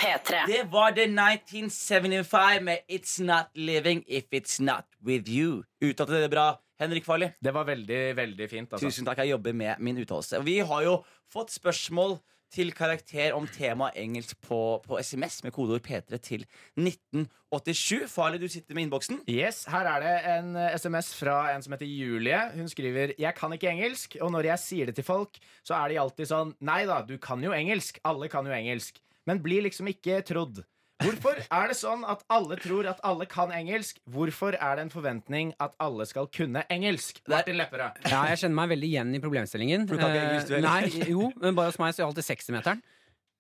Speaker 1: P3.
Speaker 4: Det var The 1975 med It's Not Living If It's Not With You. Uttalte dere det bra, Henrik Farli?
Speaker 6: Det var veldig, veldig fint. Altså.
Speaker 4: Tusen takk, jeg jobber med min uttalelse. Vi har jo fått spørsmål til karakter om tema engelsk på, på SMS med kodeord P3 til 1987. Farlig, du sitter med innboksen.
Speaker 6: Yes, Her er det en eh, SMS fra en som heter Julie. Hun skriver Jeg kan ikke engelsk, og når jeg sier det til folk, så er de alltid sånn Nei da, du kan jo engelsk. Alle kan jo engelsk. Men blir liksom ikke trodd. Hvorfor er det sånn at alle tror at alle kan engelsk? Hvorfor er det en forventning at alle skal kunne engelsk? Martin Lepperød.
Speaker 5: Ja, jeg kjenner meg veldig igjen i problemstillingen.
Speaker 4: du kan ikke
Speaker 5: Eh,
Speaker 4: engelsk, du heller.
Speaker 5: Nei, jo, men bare hos meg så er alltid 60-meteren.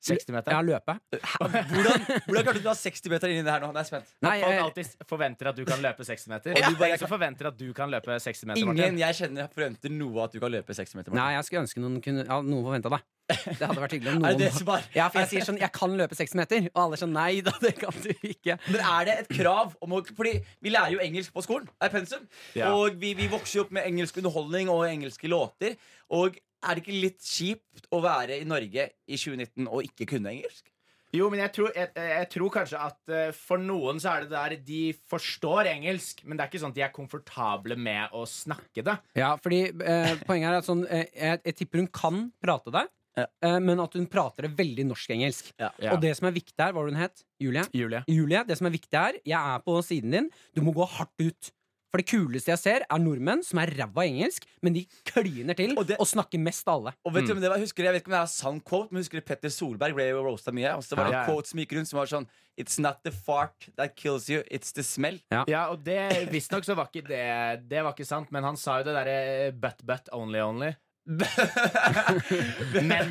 Speaker 6: 60-meteren?
Speaker 5: Ja, løpet.
Speaker 4: Eh, Hvordan, hvordan klarte du å ha 60 meter inni det her nå? Nå er jeg spent.
Speaker 5: Nei, eh,
Speaker 6: Folk
Speaker 5: jeg-
Speaker 6: alltid forventer at du kan løpe 60 meter. Og
Speaker 4: Ja.
Speaker 6: du bare ikke forventer at du kan løpe 60 meter,
Speaker 4: Ingen
Speaker 6: Martin.
Speaker 4: jeg kjenner forventer noe at du kan løpe 60 meter.
Speaker 5: Nei, jeg skulle ønske noen kunne Ja, noen forventa det. Det hadde vært hyggelig om
Speaker 4: [laughs] Er det
Speaker 5: noen
Speaker 4: det som er-
Speaker 5: Ja, for jeg sier sånn Jeg kan løpe 60 meter, og alle er sånn Nei da, det kan du ikke.
Speaker 4: Men er det et krav om å Fordi vi lærer jo engelsk på skolen. Er pensum.
Speaker 6: Ja.
Speaker 4: Og vi, vi vokser jo opp med engelsk underholdning og engelske låter. Og er det ikke litt kjipt å være i Norge i 2019 og ikke kunne engelsk?
Speaker 6: Jo, men jeg tror, jeg, jeg tror kanskje at eh, for noen så er det der de forstår engelsk, men det er ikke sånn at de er komfortable med å snakke det.
Speaker 5: Ja, fordi eh, poenget er at sånn eh, jeg, jeg tipper hun kan prate det,
Speaker 4: Ja.
Speaker 5: eh, men at hun prater det veldig norsk-engelsk.
Speaker 4: Ja.
Speaker 5: Og det som er viktig her, hva var det hun het? Julie?
Speaker 6: Julie.
Speaker 5: Julie, det som er viktig her, jeg er på siden din, du må gå hardt ut. For det kuleste jeg ser, er nordmenn som er ræva i engelsk, men de kliner til
Speaker 4: Og
Speaker 5: og,
Speaker 4: det-
Speaker 5: snakker mest av alle.
Speaker 4: Og vet du
Speaker 6: Mm.
Speaker 4: om det var, husker, Jeg vet ikke om det er sann quote, men husker du Petter Solberg ble jo roasta mye. Og så var det
Speaker 6: Ja, ja.
Speaker 4: en quote som gikk rundt som var sånn It's not the fart that kills you, it's the smell.
Speaker 6: Ja, og det visstnok så var ikke det Det var ikke sant, men han sa jo det derre eh, but, but, only,
Speaker 5: [laughs]
Speaker 6: only. men,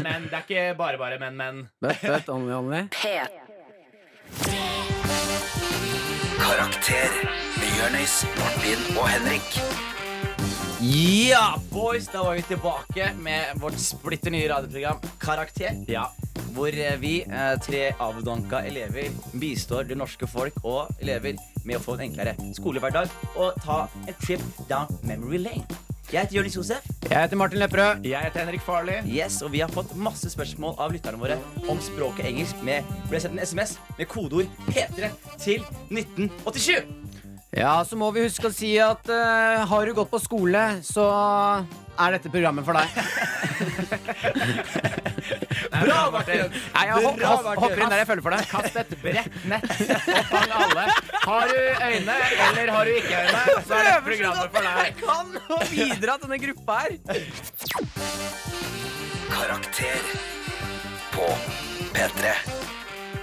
Speaker 6: men. Det er ikke bare, bare, men, men.
Speaker 3: Karakter med Jørnis, Martin og Henrik.
Speaker 4: Ja, boys! Da var vi tilbake med vårt splitter nye radioprogram Karakter.
Speaker 6: Ja.
Speaker 4: hvor eh, vi, eh, tre avdanka elever, bistår det norske folk og elever med å få en enklere skolehverdag og ta en trip down memory lane. Jeg heter Jonis Josef,
Speaker 6: Jeg heter Martin Lepperød. Jeg heter Henrik Farley.
Speaker 4: yes, og vi har fått masse spørsmål av lytterne våre om språket engelsk. Med, ble sendt en SMS med kodeord P3 til 1987.
Speaker 1: Ja, så må vi huske å si at eh, har du gått på skole, så er dette programmet
Speaker 6: [laughs]
Speaker 1: for deg.
Speaker 4: Bra, Martin!
Speaker 1: Nei, jeg hopp,
Speaker 4: Bra,
Speaker 1: hopp,
Speaker 4: Martin.
Speaker 1: hopper inn der jeg føler for deg.
Speaker 6: Kast et bredt nett og fang alle. Har du øyne, eller har du ikke øyne, så er dette programmet for deg.
Speaker 1: Jeg kan å bidra til denne gruppa her.
Speaker 3: Karakter på P3.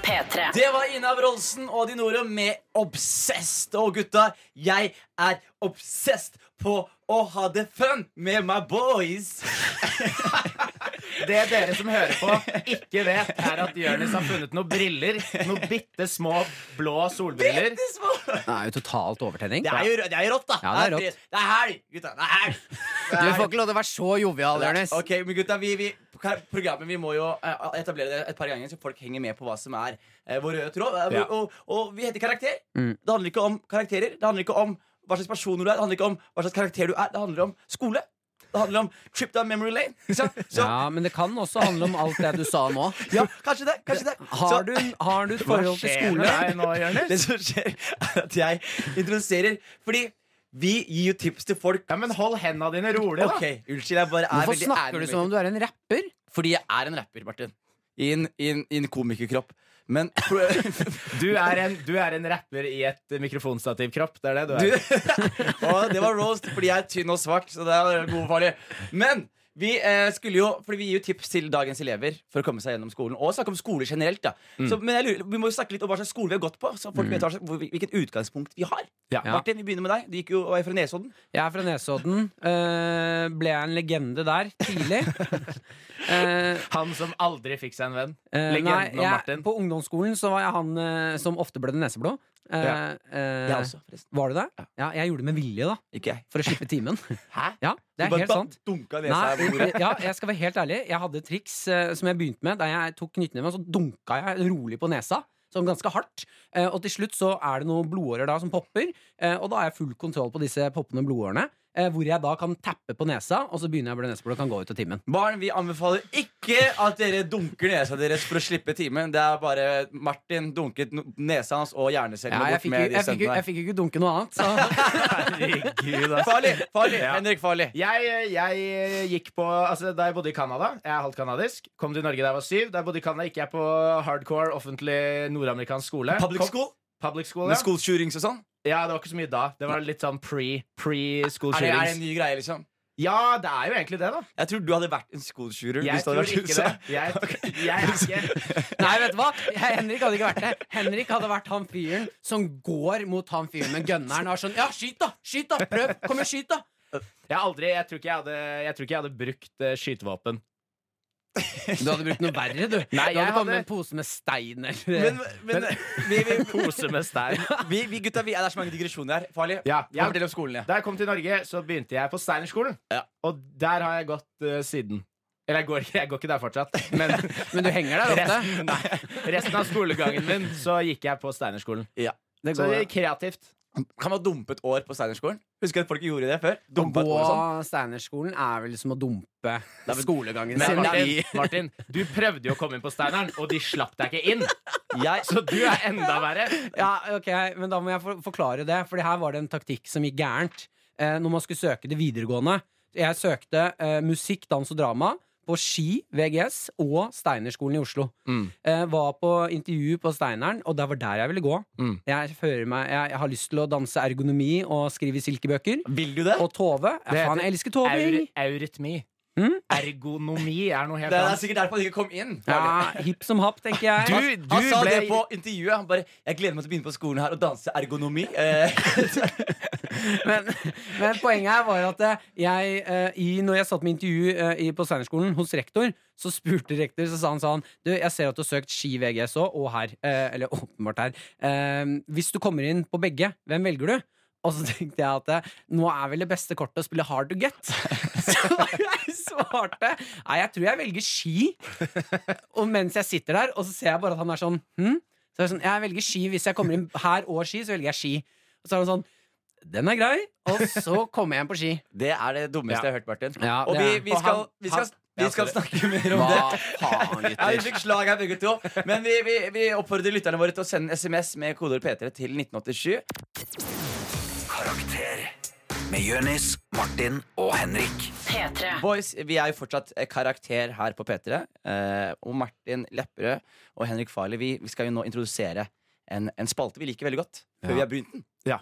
Speaker 7: P3.
Speaker 4: Det var Ina Wroldsen og Dinoro med Obsessed. Og gutta, jeg er obsessed på å ha det fun med my boys.
Speaker 6: Det dere som hører på, ikke vet, er at Jonis har funnet noen briller. Noen bitte små blå solbriller.
Speaker 5: Det er jo totalt overtenning.
Speaker 4: Det er jo det er rått, da.
Speaker 5: Ja, det er rått.
Speaker 4: Det er helg, gutta. Det er helg. Det
Speaker 1: Du
Speaker 4: er
Speaker 1: får
Speaker 4: helg.
Speaker 1: ikke lov til å være så jovial, Jonis.
Speaker 4: Ok, men gutta, vi, vi, programmet vi må jo eh, etablere det et par ganger, så folk henger med på hva som er eh, vår røde tråd. Eh,
Speaker 6: Ja.
Speaker 4: Og, og vi heter Karakter. Det handler ikke om karakterer. Det handler ikke om hva slags person du er. Det handler ikke om hva slags karakter du er. Det handler om skole. Det handler om trip down memory lane. Ikke sant? Så
Speaker 5: Ja, men det kan også handle om alt det du sa [laughs] nå.
Speaker 4: ja, kanskje det. Kanskje det. Så-
Speaker 5: [laughs] Har du, har du et forhold til skole?
Speaker 6: deg nå, Jonis?
Speaker 4: Det som skjer, er at jeg introduserer Fordi vi gir jo tips til folk.
Speaker 6: Ja, men hold hendene dine rolig, da.
Speaker 4: Ok, Unnskyld, jeg bare er
Speaker 1: Hvorfor
Speaker 4: veldig ærlig
Speaker 1: snakker
Speaker 5: sånn?
Speaker 4: med
Speaker 1: du som om du er en rapper?
Speaker 4: Fordi jeg er en rapper, Martin. I en, i en, i en komikerkropp. Men
Speaker 6: Du er en, du er en rapper i et mikrofonstativkropp. Det er det du
Speaker 4: [laughs] du [laughs]
Speaker 6: er.
Speaker 4: Og det var roast fordi jeg er tynn og svart, så det er god og farlig. Men vi eh, skulle jo Fordi vi gir jo tips til dagens elever for å komme seg gjennom skolen. Og snakke om skole generelt. da
Speaker 5: Mm.
Speaker 4: så, Men jeg lurer, vi må jo snakke litt om hva slags skole vi har gått på, så folk vet hva slags, hvor- hvilket utgangspunkt vi har. Martin, vi begynner med deg. Du gikk jo og er fra Nesodden.
Speaker 5: Jeg er fra Nesodden. eh, ble jeg en legende der [laughs] tidlig? Eh,
Speaker 6: Han som aldri fikk seg en venn.
Speaker 5: eh, nei,
Speaker 6: Legenden om
Speaker 5: jeg,
Speaker 6: Martin.
Speaker 5: på ungdomsskolen så var jeg han eh, som ofte ble det neseblå. Eh,
Speaker 6: Ja.
Speaker 5: eh,
Speaker 4: Jeg også, forresten.
Speaker 5: Var du det? Ja, jeg gjorde det med vilje, da.
Speaker 4: Ikke jeg.
Speaker 5: For å slippe timen.
Speaker 6: Hæ?
Speaker 5: Ja, det
Speaker 4: Du
Speaker 5: er
Speaker 4: bare
Speaker 5: helt
Speaker 4: ba-
Speaker 5: sant.
Speaker 4: Dunka nesa her
Speaker 5: Nei,
Speaker 4: på bordet.
Speaker 5: ja, jeg skal være helt ærlig. Jeg hadde et triks eh, som jeg begynte med da jeg tok knyttneven, så dunka jeg rolig på nesa. Sånn ganske hardt. Eh, og til slutt så er det noen blodårer da som popper, eh, og da har jeg full kontroll på disse poppende blodårene. eh, hvor jeg da kan tappe på nesa, og så begynner jeg å bli neseblod og kan gå ut av timen.
Speaker 4: Barn, vi anbefaler ikke at dere dunker nesa deres for å slippe timen. Det er bare Martin dunket no- nesa hans og hjernecellen
Speaker 5: Ja, jeg,
Speaker 4: bort
Speaker 5: fikk, jo-
Speaker 4: med de
Speaker 5: jeg, fikk, jo-
Speaker 4: sentene
Speaker 5: jeg
Speaker 4: her.
Speaker 5: fikk jo ikke dunke noe annet,
Speaker 4: [laughs]
Speaker 5: så
Speaker 6: Herregud, ass.
Speaker 4: Farlig! farlig,
Speaker 6: Ja.
Speaker 4: Henrik Farlig.
Speaker 6: Jeg, jeg gikk på altså, Da jeg bodde i Canada Jeg er halvt kanadisk. Kom til Norge da jeg var syv. Da jeg bodde i Canada, gikk jeg på hardcore offentlig nordamerikansk skole.
Speaker 4: Public
Speaker 6: Kom-
Speaker 4: school
Speaker 6: Public school,
Speaker 4: med
Speaker 6: ja.
Speaker 4: skoleshootings og sånn.
Speaker 6: ja, det var ikke så mye da. Det var litt sånn pre, pre school
Speaker 4: Er det, er det en
Speaker 6: shootings.
Speaker 4: ny greie, liksom?
Speaker 6: Ja, det er jo egentlig det, da.
Speaker 4: Jeg tror du hadde vært en skoleshooter.
Speaker 6: Jeg
Speaker 4: hvis du
Speaker 6: tror
Speaker 4: hadde vært i
Speaker 6: ikke
Speaker 4: USA.
Speaker 6: det. Jeg, [laughs] jeg er ikke
Speaker 5: Nei, vet du hva? Henrik hadde ikke vært det. Henrik hadde vært han fyren som går mot han fyren med gunneren og er sånn Ja, skyt, da! Skyt, da! Prøv! Kom igjen, skyt, da!
Speaker 6: Jeg, har aldri, jeg, tror ikke jeg, hadde, jeg tror ikke jeg hadde brukt eh, skytevåpen.
Speaker 5: Du hadde brukt noe verre, du.
Speaker 6: Nei,
Speaker 5: du
Speaker 6: jeg
Speaker 5: hadde kommet med
Speaker 6: hadde-
Speaker 5: en pose med stein eller
Speaker 4: Men, men vi, vi,
Speaker 6: En pose med stein.
Speaker 4: vi, vi gutta, vi, det er så mange digresjoner her. Farlig.
Speaker 6: Ja, ja.
Speaker 4: Fortell om skolen, [laughs] ja.
Speaker 6: Da jeg kom til Norge, så begynte jeg på Steinerskolen.
Speaker 4: Ja.
Speaker 6: Og der har jeg gått eh, siden. Eller jeg går, [laughs] ikke- jeg går ikke der fortsatt, men
Speaker 5: Men du henger der ofte.
Speaker 6: [laughs] resten, nei, resten av skolegangen min så gikk jeg på Steinerskolen.
Speaker 5: Det
Speaker 6: Så det er kreativt.
Speaker 4: Kan man dumpe et år på Steinerskolen? Husker du at folk gjorde det før?
Speaker 5: Å
Speaker 4: Dumpa
Speaker 5: gå
Speaker 4: et år og sånn.
Speaker 5: Steinerskolen er vel som å dumpe skolegangen
Speaker 6: Men
Speaker 5: sin.
Speaker 4: det er-
Speaker 6: Martin, Martin, du prøvde jo å komme inn på Steineren, og de slapp deg ikke inn.
Speaker 4: Jeg,
Speaker 6: Så du er enda verre.
Speaker 5: Ja, ok, men da må jeg for forklare det, Fordi her var det en taktikk som gikk gærent. Eh, når man skulle søke det videregående. Jeg søkte eh, musikk, dans og drama på Ski VGS og Steinerskolen i Oslo.
Speaker 6: Mm.
Speaker 5: Eh, var på intervju på Steineren, og det var der jeg ville gå.
Speaker 6: Mm.
Speaker 5: Jeg, føler meg, jeg, jeg har lyst til å danse ergonomi og skrive silkebøker.
Speaker 4: vil du det?
Speaker 5: Og Tove. Ja,
Speaker 6: Det heter
Speaker 5: faen, jeg elsker Tove!
Speaker 6: Eur,
Speaker 5: Ing.
Speaker 6: eurytmi.
Speaker 5: Mm?
Speaker 6: Ergonomi Hmm? er noe helt
Speaker 4: Det er
Speaker 6: annet.
Speaker 4: sikkert derfor han ikke kom inn.
Speaker 5: Ja, hipp som happ, tenker jeg.
Speaker 6: Du-
Speaker 4: han, han sa
Speaker 6: ble-
Speaker 4: det på intervjuet. Han bare 'Jeg gleder meg til å begynne på skolen her og danse ergonomi'. Eh,
Speaker 5: men, men poenget her var at eh, jeg, eh, i, når jeg satt med intervju eh, i, på Steinerskolen hos rektor, så spurte rektor, så sa han sånn Du, jeg ser at du har søkt Ski VGS òg, og her. Eh, eller åpenbart her. Eh, hvis du kommer inn på begge, hvem velger du? Og så tenkte jeg at eh, nå er vel det beste kortet å spille hard to get. [laughs] Så jeg svarte Nei, jeg tror jeg velger ski. Og mens jeg sitter der, og så ser jeg bare at han er sånn hm? Så er jeg sånn, jeg velger ski Hvis jeg kommer inn her og ski, så velger jeg ski. Og så er han sånn Den er grei. Og så kommer jeg inn på ski.
Speaker 4: [laughs] det er det dummeste
Speaker 6: Ja.
Speaker 4: jeg har hørt, Martin.
Speaker 5: Ja,
Speaker 4: og
Speaker 5: det
Speaker 4: vi,
Speaker 5: er-
Speaker 4: vi
Speaker 6: og
Speaker 4: skal,
Speaker 6: han-
Speaker 4: vi skal,
Speaker 6: han-
Speaker 4: vi
Speaker 6: Ja,
Speaker 4: skal
Speaker 6: sorry.
Speaker 4: snakke mer om
Speaker 5: Hva
Speaker 4: det.
Speaker 5: [laughs] faen,
Speaker 4: Ja, vi
Speaker 5: gutter?
Speaker 4: fikk slag her, begge to. Men vi, vi, vi oppfordrer lytterne våre til å sende SMS med kodeord P3 til 1987.
Speaker 3: Karakter med Jonis, Martin og Henrik.
Speaker 7: P3.
Speaker 4: Boys, vi er jo fortsatt eh, karakter her på P3. Eh, og Martin Lepperød og Henrik Farley, vi, vi skal jo nå introdusere en, en spalte vi liker veldig godt. Før vi har begynt den.
Speaker 6: Ja.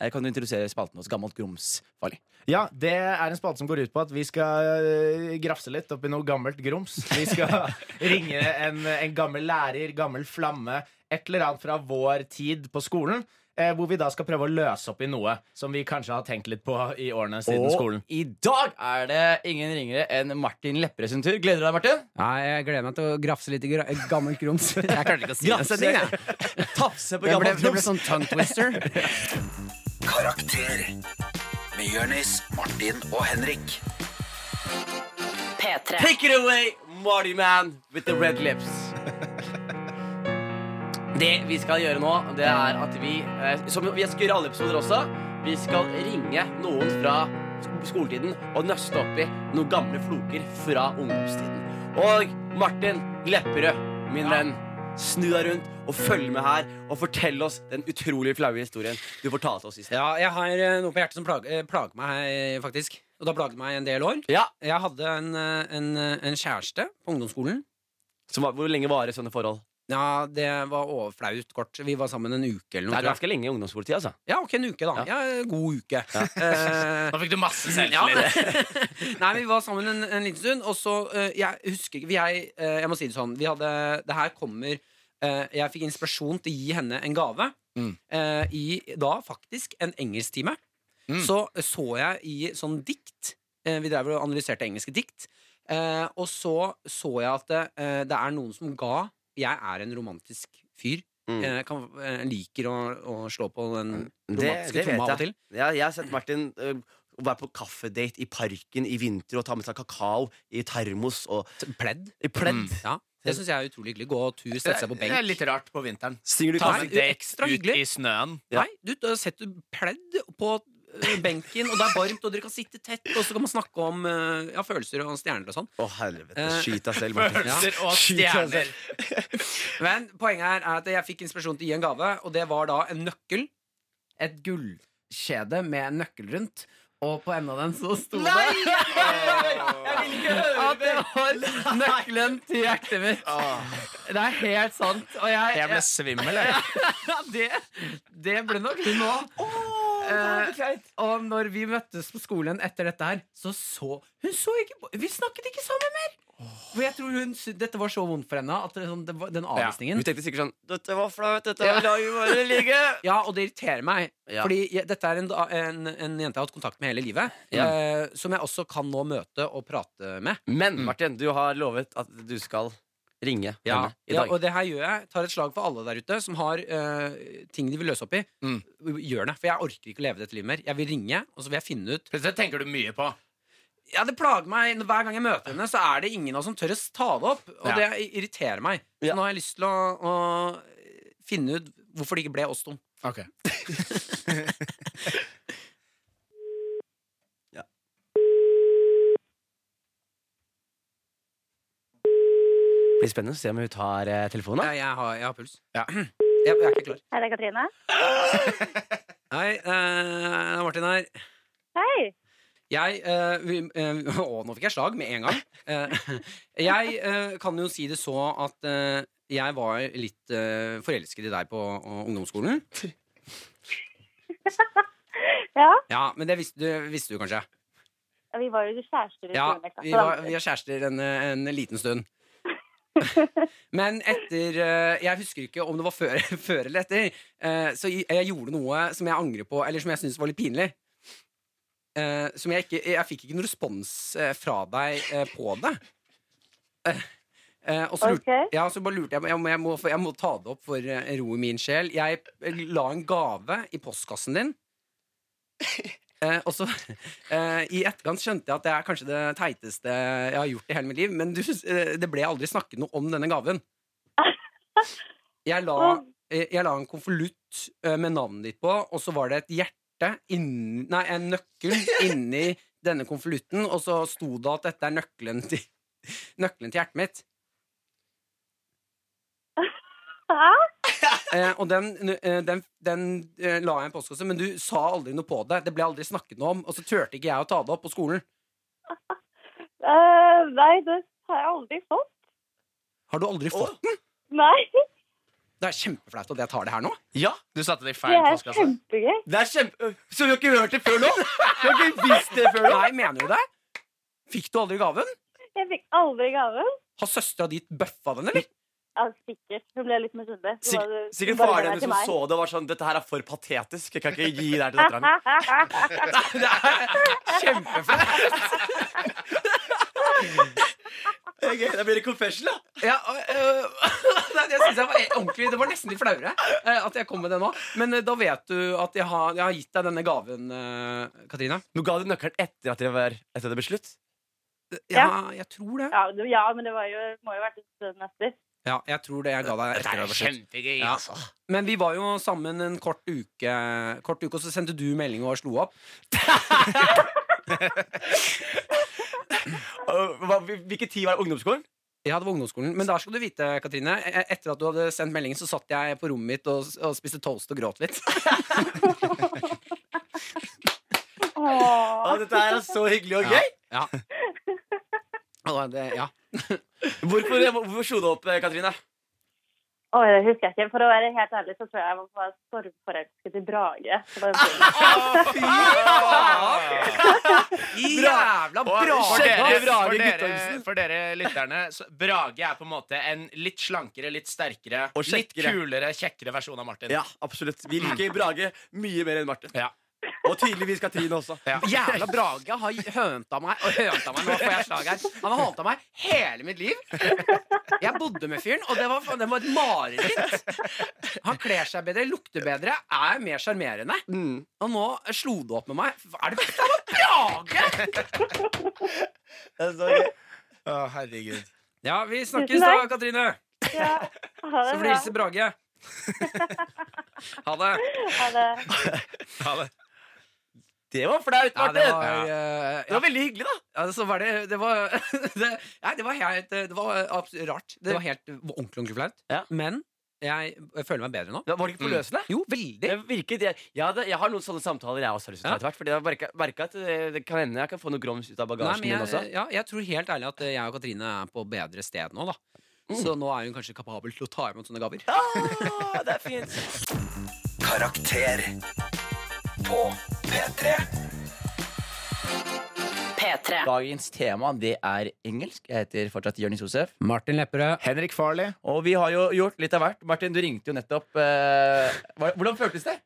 Speaker 4: Eh, Kan du introdusere spalten hos Gammelt grums, Farley?
Speaker 6: Ja, det er en spalte som går ut på at vi skal øh, grafse litt oppi noe gammelt grums. Vi [laughs] skal ringe en, en gammel lærer, gammel flamme, et eller annet fra vår tid på skolen. Eh, hvor vi da skal prøve å løse opp i noe som vi kanskje har tenkt litt på i årene siden
Speaker 4: og
Speaker 6: skolen.
Speaker 4: i dag er det ingen ringere enn Martin Lepperød sin tur. Gleder du deg, Martin?
Speaker 5: Nei, jeg gleder meg til å grafse litt i gra- gammel grums. [laughs] Jeg klarte ikke å si det.
Speaker 4: Grafse.
Speaker 5: setningen, jeg.
Speaker 4: Tafse på
Speaker 5: Det ble,
Speaker 4: gammelt
Speaker 5: det ble
Speaker 4: grums.
Speaker 5: sånn tongue twister.
Speaker 3: Karakter med Jonis, Martin og Henrik.
Speaker 7: P3.
Speaker 4: Take it away, Marty Man with the red lips. [laughs] Det vi skal gjøre nå, det er at vi, eh, som vi skal gjøre i alle episoder også, vi skal ringe noen fra sk- skoletiden og nøste opp i noen gamle floker fra ungdomstiden. Og Martin Lepperød, min venn, snu deg rundt og følg med her og fortell oss den utrolig flaue historien du fortalte oss i sted.
Speaker 5: [laughs] Ja, jeg har eh, noe på hjertet som plager, eh, plager meg, eh, faktisk. Og det har plaget meg en del år.
Speaker 4: Ja,
Speaker 5: Jeg hadde en, eh, en, eh, en kjæreste på ungdomsskolen.
Speaker 4: så hva- Hvor lenge varer sånne forhold?
Speaker 5: Ja, det var overflaut kort. Vi var sammen en uke
Speaker 4: Det
Speaker 5: eller noe.
Speaker 4: er
Speaker 5: tror jeg.
Speaker 4: ganske lenge i ungdomsskoletid, altså.
Speaker 5: Ja, ok, en uke, da. Ja, God uke. Eh,
Speaker 6: Nå fikk du masse
Speaker 5: ja.
Speaker 6: selvtillit.
Speaker 5: [laughs] Nei, vi var sammen en, en liten stund, og så eh, Jeg husker ikke jeg, eh, jeg må si det sånn. Vi hadde Det her kommer eh, Jeg fikk inspirasjon til å gi henne en gave.
Speaker 4: Mm.
Speaker 5: eh, I da faktisk en engelsktime.
Speaker 4: Mm.
Speaker 5: Så så jeg i sånn dikt eh, Vi drev og analyserte engelske dikt. eh, og så så jeg at det, eh, det er noen som ga Jeg er en romantisk fyr.
Speaker 4: Mm.
Speaker 5: Eh, kan, eh, liker å, å slå på den
Speaker 4: Det,
Speaker 5: romantiske
Speaker 4: det vet
Speaker 5: tromma av og
Speaker 4: jeg.
Speaker 5: til.
Speaker 4: Ja, jeg har sett Martin ø, være på kaffedate i parken i vinter og ta med seg kakao i termos og
Speaker 5: Pledd.
Speaker 4: i pledd.
Speaker 6: Mm.
Speaker 5: Ja, det syns jeg er utrolig hyggelig. Gå tur, sette seg på
Speaker 6: Det er
Speaker 5: benk.
Speaker 6: litt rart på vinteren.
Speaker 4: Synger du
Speaker 5: Ta
Speaker 4: kaffe?
Speaker 5: med- det er ekstra hyggelig.
Speaker 6: snøen.
Speaker 4: Ja.
Speaker 5: Nei, du, da setter du pledd på eh, i benken, og det er varmt, og dere kan sitte tett, og så kan man snakke om eh, ja, følelser og stjerner og sånn.
Speaker 4: Å, helvete.
Speaker 5: Eh,
Speaker 4: Skyt deg selv, [laughs] Martin.
Speaker 5: Ja.
Speaker 6: Følelser og stjerner.
Speaker 5: Men poenget her er at jeg fikk inspirasjon til å gi en gave, og det var da en nøkkel. Et gullkjede med en nøkkel rundt. Og på enden av den så sto det [laughs] at det var nøkkelen til hjertet mitt.
Speaker 6: Ah.
Speaker 5: Det er helt sant. Og jeg,
Speaker 7: Jeg ble svimmel, jeg.
Speaker 5: ja, det, det ble nok hun nå. Eh, og når vi møttes på skolen etter dette her, så så Hun så ikke på- Vi snakket ikke sammen mer! For jeg tror hun, sy- Dette var så vondt for henne. At det, sånn, det var, den avvisningen
Speaker 4: Hun tenkte sikkert sånn Dette var flaut. Dette vil jeg bare ligge.
Speaker 5: Ja, og det irriterer meg.
Speaker 4: Ja.
Speaker 5: Fordi jeg, dette er en, da- en, en jente jeg har hatt kontakt med hele livet.
Speaker 4: Ja.
Speaker 5: eh, som jeg også kan nå møte og prate med.
Speaker 4: [laughs] Men Martin, du har lovet at du skal ringe henne i
Speaker 5: ja,
Speaker 4: dag.
Speaker 5: Og det her gjør jeg. Tar et slag for alle der ute som har eh, ting de vil løse opp i. Gjør det. For jeg orker ikke å leve dette livet mer. Jeg vil ringe, og så vil jeg finne ut
Speaker 6: Plutselig tenker du mye på.
Speaker 5: Ja, det plager meg Hver gang jeg møter henne, så er det ingen av oss som tør å ta det opp. Og
Speaker 6: Ja.
Speaker 5: det irriterer meg. Så
Speaker 4: Ja.
Speaker 5: nå har jeg lyst til å, å finne ut hvorfor det ikke ble oss to.
Speaker 4: Det blir spennende å se om hun tar eh, telefonen. da.
Speaker 5: Jeg, jeg, har, jeg har puls.
Speaker 6: Ja.
Speaker 5: [clears throat] Jeg, jeg er ikke klar.
Speaker 8: Hei, det er Katrine.
Speaker 5: Hei, eh, det er Martin her.
Speaker 8: Hei!
Speaker 5: Jeg eh, vi, eh, [laughs] Å, nå fikk jeg slag med en gang. Eh, jeg eh, kan jo si det så at eh, jeg var litt eh, forelsket i deg på eh, ungdomsskolen.
Speaker 8: Ja,
Speaker 5: Ja, Men det visste du, visste du kanskje?
Speaker 8: ja, vi var jo kjærester i
Speaker 5: Ja,
Speaker 8: skolen. ikke sant?
Speaker 5: vi,
Speaker 8: Så da-
Speaker 5: var, vi var kjærester en, eh, en liten
Speaker 8: [laughs]
Speaker 5: stund. Men etter eh, Jeg husker ikke om det var før, [laughs] før eller etter. eh, Så jeg gjorde noe som jeg angrer på, eller som jeg syntes var litt pinlig. Eh, Som jeg ikke Jeg fikk ikke noen respons eh, fra deg eh, på det. Eh, eh, Og så lurte
Speaker 8: Ok.
Speaker 5: ja, så bare lurte jeg på jeg, må- jeg, må- jeg må ta det opp for eh, ro i min sjel. Jeg eh, la en gave i postkassen din. Eh, og så eh, I etterkant skjønte jeg at det er kanskje det teiteste jeg har gjort i hele mitt liv. Men du, eh, det ble aldri snakket noe om denne gaven. Jeg la, eh, jeg la en konvolutt eh, med navnet ditt på, og så var det et hjerte inni Nei, en nøkkel inni denne konvolutten, og så sto det at dette er nøkkelen til, nøkkelen til hjertet mitt.
Speaker 8: Hæ?
Speaker 5: Eh, og den, eh, den, den eh, la jeg i en postkasse, men du sa aldri noe på det. Det ble aldri snakket noe om, og så turte ikke jeg å ta det opp på skolen.
Speaker 8: Eh, nei, det har jeg aldri fått.
Speaker 5: Har du aldri fått den?
Speaker 8: Nei,
Speaker 5: Det er kjempeflaut at jeg tar det her nå.
Speaker 7: Ja,
Speaker 6: Du satte det i
Speaker 8: det
Speaker 6: feil
Speaker 8: er
Speaker 6: postkasse.
Speaker 8: kjempegøy.
Speaker 4: Det er kjempe... Så du har ikke hørt det før nå?
Speaker 8: [laughs]
Speaker 4: Du har ikke visst det før nå?
Speaker 5: Nei, mener du det? Fikk du aldri gaven?
Speaker 8: Jeg fikk aldri gaven.
Speaker 5: Har søstera di bøffa den,
Speaker 4: [laughs]
Speaker 5: eller?
Speaker 8: Ja, sikkert. Hun ble litt misunnelig. Så
Speaker 4: Sik
Speaker 8: bare-
Speaker 4: sikkert
Speaker 8: bare
Speaker 4: faren
Speaker 8: ga
Speaker 4: hennes som
Speaker 8: den til [laughs]
Speaker 4: så det og var sånn Dette her er for patetisk. Jeg kan ikke gi det her til dattera mi.
Speaker 8: meg.
Speaker 5: Det er kjempeflaut.
Speaker 4: Ok, da blir det confession, da.
Speaker 5: Ja, øh, [laughs] nei, det synes jeg var ordentlig Det var nesten litt flauere eh, at jeg kom med det nå. Men eh, da vet du at jeg har, jeg har gitt deg denne gaven, eh, Katrine.
Speaker 4: Du ga du nøkkelen etter at det, var, etter det ble slutt?
Speaker 5: Ja,
Speaker 8: Ja.
Speaker 5: jeg tror det.
Speaker 8: Ja, det- ja, men det var jo, må jo ha vært en stund etter.
Speaker 5: Ja, jeg tror det jeg ga deg etter det var slutt.
Speaker 6: kjempegøy. altså.
Speaker 5: Ja. Men vi var jo sammen en kort uke, kort uke og så sendte du melding og slo opp.
Speaker 4: Og hva- hvil- Hvilken tid var det? Ungdomsskolen?
Speaker 5: Ja, det var ungdomsskolen. Men der skal du vite, Katrine, e- etter at du hadde sendt meldingen, så satt jeg på rommet mitt og, og spiste toast og gråt litt.
Speaker 4: Å,
Speaker 8: Åh.
Speaker 4: dette her er så hyggelig og gøy!
Speaker 5: Ja. [laughs] Og det, ja.
Speaker 4: Hvorfor, hvorfor slo du opp, eh, Katrine?
Speaker 8: Åh, det husker jeg ikke. For å være helt ærlig så tror jeg jeg var stormforelsket i Brage. Det var en stund.
Speaker 5: Jævla
Speaker 6: Og
Speaker 5: bra!
Speaker 6: for
Speaker 5: Skjedd,
Speaker 6: dere,
Speaker 5: ass!
Speaker 6: for, dere,
Speaker 4: Guttormsen.
Speaker 6: for dere lytterne, så Brage er på en måte en litt slankere, litt sterkere,
Speaker 4: Og
Speaker 6: litt
Speaker 4: kjekkere.
Speaker 6: kulere, kjekkere versjon av Martin.
Speaker 4: Ja, absolutt. Vi liker Brage mye mer enn Martin.
Speaker 6: Ja.
Speaker 4: Og tydeligvis Katrine også.
Speaker 5: Jævla Brage har hønta meg og hønta meg nå får jeg slag her. Han har hånta meg hele mitt liv. Jeg bodde med fyren, og det var, faen- det var et mareritt. Han kler seg bedre, lukter bedre, er mer sjarmerende. Og nå slo det opp med meg. Hva Er det for noe Brage?!
Speaker 4: Det er så gøy.
Speaker 6: Å, herregud.
Speaker 5: Ja, vi
Speaker 8: Tusen
Speaker 5: snakkes da,
Speaker 8: takk.
Speaker 5: Katrine.
Speaker 8: Ja. Ha
Speaker 5: Så
Speaker 8: det
Speaker 5: får du hilse
Speaker 8: bra.
Speaker 5: Brage. [laughs] Ha det.
Speaker 8: Ha det.
Speaker 4: Det var flaut,
Speaker 5: Ja,
Speaker 4: Martin!
Speaker 5: det var, eh,
Speaker 4: Det
Speaker 5: ja.
Speaker 4: var veldig hyggelig, da.
Speaker 5: Ja, så var det Det var, [laughs] det, nei, det var helt Det var abs- rart. Det var helt ordentlig ordentlig flaut.
Speaker 4: Ja.
Speaker 5: Men jeg, jeg føler meg bedre nå.
Speaker 4: Var det ikke forløsende?
Speaker 5: Jo, veldig.
Speaker 4: Det virket, jeg, jeg, hadde, jeg har noen sånne samtaler jeg også har lyst til å ta
Speaker 5: Ja.
Speaker 4: etter hvert. Fordi jeg har merka- merka at det, det kan hende jeg kan få noe grums ut av
Speaker 5: Nei,
Speaker 4: bagasjen
Speaker 5: men
Speaker 4: min også.
Speaker 5: [laughs] jeg, ja, jeg tror helt ærlig at eh, jeg og Katrine er på bedre sted nå, da. Så nå er hun kanskje kapabel til å ta imot sånne gaver.
Speaker 4: Ah, det er fint.
Speaker 3: Karakter på P3.
Speaker 7: P3.
Speaker 4: [laughs] Dagens tema det er engelsk. Jeg heter fortsatt Jonis Josef.
Speaker 5: Martin Lepperød.
Speaker 6: Henrik Farley.
Speaker 4: Og vi har jo gjort litt av hvert. Martin, du ringte jo nettopp. eh, hva- hvordan føltes det?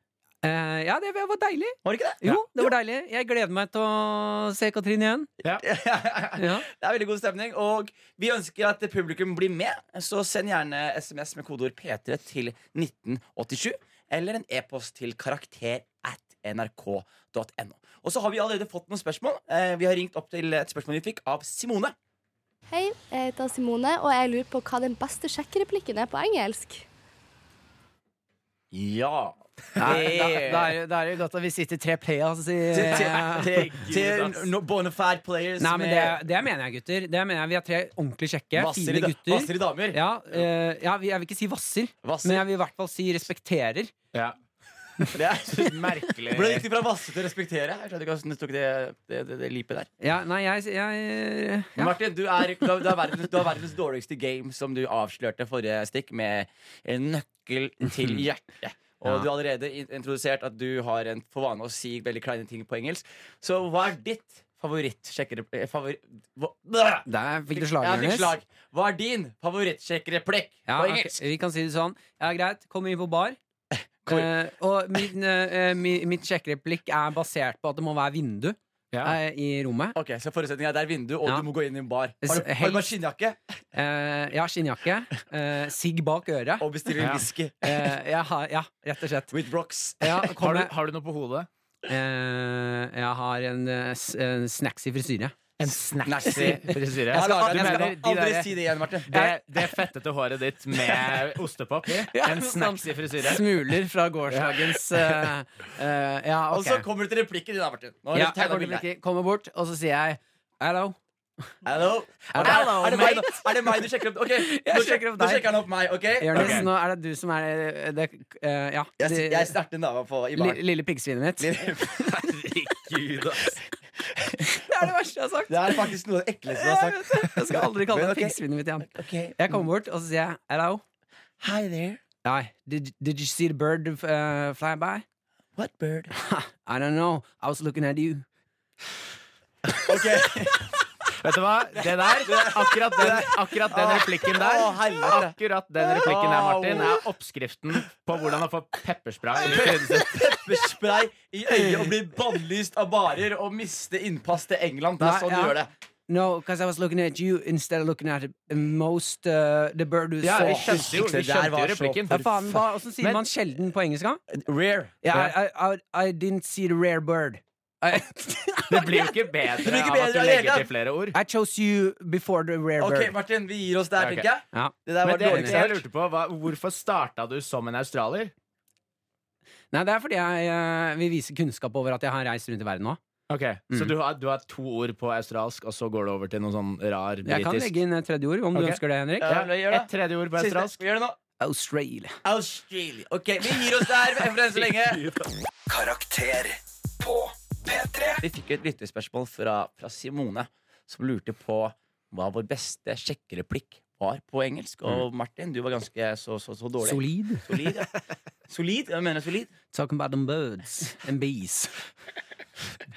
Speaker 5: Eh, ja, det var deilig.
Speaker 4: Var det ikke det?
Speaker 5: Jo, det var deilig. Jeg gleder meg til å se Katrine igjen. Ja.
Speaker 4: [laughs] Det er veldig god stemning. Og vi ønsker at publikum blir med. Så send gjerne SMS med kodeord P3 til 1987. Eller en e-post til karakter at nrk.no. Og så har vi allerede fått noen spørsmål. Eh, Vi har ringt opp til et spørsmål vi fikk av Simone.
Speaker 9: Hei, jeg heter Simone, og jeg lurer på hva den beste sjekkereplikken er på engelsk.
Speaker 4: Ja.
Speaker 1: Nei, da, da, er, det- da er det godt at vi sitter tre players i
Speaker 4: Til,
Speaker 1: eh,
Speaker 4: til, til, til no, Bonafide players
Speaker 5: Nei, men det,
Speaker 4: med
Speaker 5: det mener jeg, gutter. Det mener jeg, Vi er tre ordentlig kjekke,
Speaker 4: vasser i
Speaker 5: fine
Speaker 4: da-
Speaker 5: gutter.
Speaker 4: vasser i damer.
Speaker 5: Ja, eh, ja, vi- jeg vil ikke si vasser,
Speaker 4: Vasser.
Speaker 5: men jeg vil i hvert fall si respekterer.
Speaker 6: Ja.
Speaker 4: [laughs] Det er-
Speaker 5: [laughs]
Speaker 6: Merkelig.
Speaker 4: Ble det riktig fra vasse til å respektere? Jeg skjønner ikke hvordan du tok det, det, det, det lipet der.
Speaker 5: Ja, nei, jeg, jeg
Speaker 4: Men
Speaker 5: ja.
Speaker 4: Martin, du er, du, er, du, er verdens, du er verdens dårligste game som du avslørte forrige stikk med en nøkkel
Speaker 5: [laughs]
Speaker 4: til hjertet. Og
Speaker 5: Ja.
Speaker 4: du har allerede in- introdusert at du har en for vane å si veldig kleine ting på engelsk. Så hva er ditt favorittsjekkereplikk favor, hva- Blæh!
Speaker 5: Der fikk du slag,
Speaker 4: Jeg fikk
Speaker 5: Jonis.
Speaker 4: slag. Hva er din favorittsjekkereplikk
Speaker 5: Ja,
Speaker 4: på
Speaker 5: ok,
Speaker 4: engelsk?
Speaker 5: Vi kan si det sånn. Ja, greit. Kom inn på bar.
Speaker 4: [laughs] Kom inn.
Speaker 5: Eh, og min, eh, eh, mi- mitt sjekkereplikk er basert på at det må være vindu
Speaker 6: Ja.
Speaker 5: eh, i rommet.
Speaker 4: Ok, Så forutsetningen er det er vindu, og
Speaker 5: Ja.
Speaker 4: du må gå inn i en bar. Har du, har
Speaker 5: Helst-
Speaker 4: du maskinjakke
Speaker 5: Eh, jeg har skinnjakke, eh, sigg bak øret.
Speaker 4: og bestiller en
Speaker 6: Ja.
Speaker 4: whisky
Speaker 5: Eh, jeg har, ja, rett og slett.
Speaker 4: with rocks? [laughs]
Speaker 5: Ja,
Speaker 6: Har,
Speaker 5: kommer,
Speaker 6: du, har du noe på hodet?
Speaker 5: Eh, jeg har en, eh, s- en snacks i frisyre.
Speaker 6: En snacks i [laughs] frisyre?
Speaker 4: Jeg skal
Speaker 5: skal-
Speaker 4: aldri,
Speaker 5: jeg skal-
Speaker 4: jeg skal
Speaker 6: de
Speaker 4: aldri
Speaker 6: der-
Speaker 4: si det igjen, Martin.
Speaker 6: Det, det fettete håret ditt med ostepop? En snacks i frisyre?
Speaker 5: Smuler fra gårsdagens eh, eh, Ja,
Speaker 4: Og så
Speaker 5: ok.
Speaker 4: kommer du til replikken din, da, Martin. Nå har
Speaker 5: Ja,
Speaker 4: jeg
Speaker 5: jeg
Speaker 4: tegnet
Speaker 5: kommer,
Speaker 4: bildet her.
Speaker 5: ikke- kommer bort, og så sier jeg hello.
Speaker 4: Hello. Er det,
Speaker 5: Hello,
Speaker 4: er, det meg, nå? er det meg du sjekker opp?
Speaker 5: [laughs]
Speaker 4: Ok, nå
Speaker 5: sjekker
Speaker 4: sjekker,
Speaker 5: opp
Speaker 4: nå
Speaker 5: deg.
Speaker 4: sjekker han opp meg. ok?
Speaker 5: Jonis,
Speaker 4: Ok.
Speaker 5: nå er det du som er eh, det, eh, Ja.
Speaker 4: Jeg,
Speaker 5: det-
Speaker 4: s- jeg starter en dame på, i
Speaker 5: li,
Speaker 4: baren.
Speaker 5: lille piggsvinet mitt. Det
Speaker 4: Herregud, ass.
Speaker 5: er [laughs] det verste jeg har sagt.
Speaker 4: [laughs] Det er faktisk noe av det ekleste du har sagt.
Speaker 5: Jeg skal aldri kalle
Speaker 4: Men
Speaker 5: deg
Speaker 4: ok.
Speaker 5: piggsvinet mitt igjen.
Speaker 4: Ok,
Speaker 5: Jeg kommer bort, og så sier jeg hello.
Speaker 4: Hi there.
Speaker 5: Nei, did, did you see the bird eh, fly by?
Speaker 4: What bird?
Speaker 5: I don't know. I was looking at you. [laughs]
Speaker 4: Ok,
Speaker 6: Vet du hva? Det der, akkurat den, akkurat den replikken der
Speaker 4: Å, helvete.
Speaker 6: Akkurat den replikken der, Martin, er oppskriften på hvordan å få pepperspray. i trynet sitt.
Speaker 4: Pepperspray i øyet og bli bannlyst av barer og miste innpass til England. Det
Speaker 5: Nei,
Speaker 4: er sånn
Speaker 5: ja.
Speaker 4: du gjør det.
Speaker 5: No, because I was looking at you instead of looking at most uh, the bird you
Speaker 6: Ja, vi
Speaker 5: saw.
Speaker 6: skjønte jo, vi
Speaker 4: Det der
Speaker 6: skjønte
Speaker 4: var
Speaker 6: jo
Speaker 4: så
Speaker 6: replikken.
Speaker 5: Ja, faen, hva, hvordan sier
Speaker 6: Men-
Speaker 5: man sjelden på engelsk? da?
Speaker 4: Rare.
Speaker 5: Ja, I, I, I, I didn't see the rare bird. I, [laughs]
Speaker 6: Det blir jo ikke
Speaker 4: Det blir
Speaker 6: bedre
Speaker 4: ikke
Speaker 6: av at
Speaker 4: bedre
Speaker 6: du
Speaker 4: av
Speaker 6: legger
Speaker 4: det.
Speaker 6: til flere ord.
Speaker 5: I chose you before the rare
Speaker 4: Ok,
Speaker 5: bird.
Speaker 4: Martin, vi gir oss der,
Speaker 6: Ok.
Speaker 4: tenker jeg.
Speaker 5: Ja.
Speaker 4: Det der
Speaker 6: Men
Speaker 4: var
Speaker 6: det
Speaker 4: dårlig
Speaker 6: eneste jeg
Speaker 4: sagt.
Speaker 6: lurte på, var hvorfor starta du som en australier?
Speaker 5: Nei, det er fordi jeg eh, vil vise kunnskap over at jeg har reist rundt i verden nå.
Speaker 6: Ok,
Speaker 4: mm.
Speaker 6: Så du har, du har to ord på australsk, og så går du over til noe sånn rar
Speaker 5: Jeg kan
Speaker 6: britisk?
Speaker 5: legge inn et tredje ord, om
Speaker 6: Ok.
Speaker 5: du ønsker det, Henrik.
Speaker 4: Ja, gjør det.
Speaker 6: Et tredje ord på
Speaker 4: Siste.
Speaker 6: australsk.
Speaker 4: Vi gjør det nå.
Speaker 5: Australia.
Speaker 4: Australia. Ok, vi gir oss der for enn så lenge.
Speaker 3: Karakter på P3.
Speaker 4: [laughs] Vi fikk et lyttespørsmål fra, fra Simone, som lurte på hva vår beste sjekkereplikk var på engelsk.
Speaker 6: Mm.
Speaker 4: Og Martin, du var ganske så, så, så dårlig.
Speaker 5: Solid.
Speaker 6: [laughs]
Speaker 4: Solid, ja. solid? Jeg mener solid.
Speaker 5: Talking about them birds and bees.
Speaker 6: [laughs]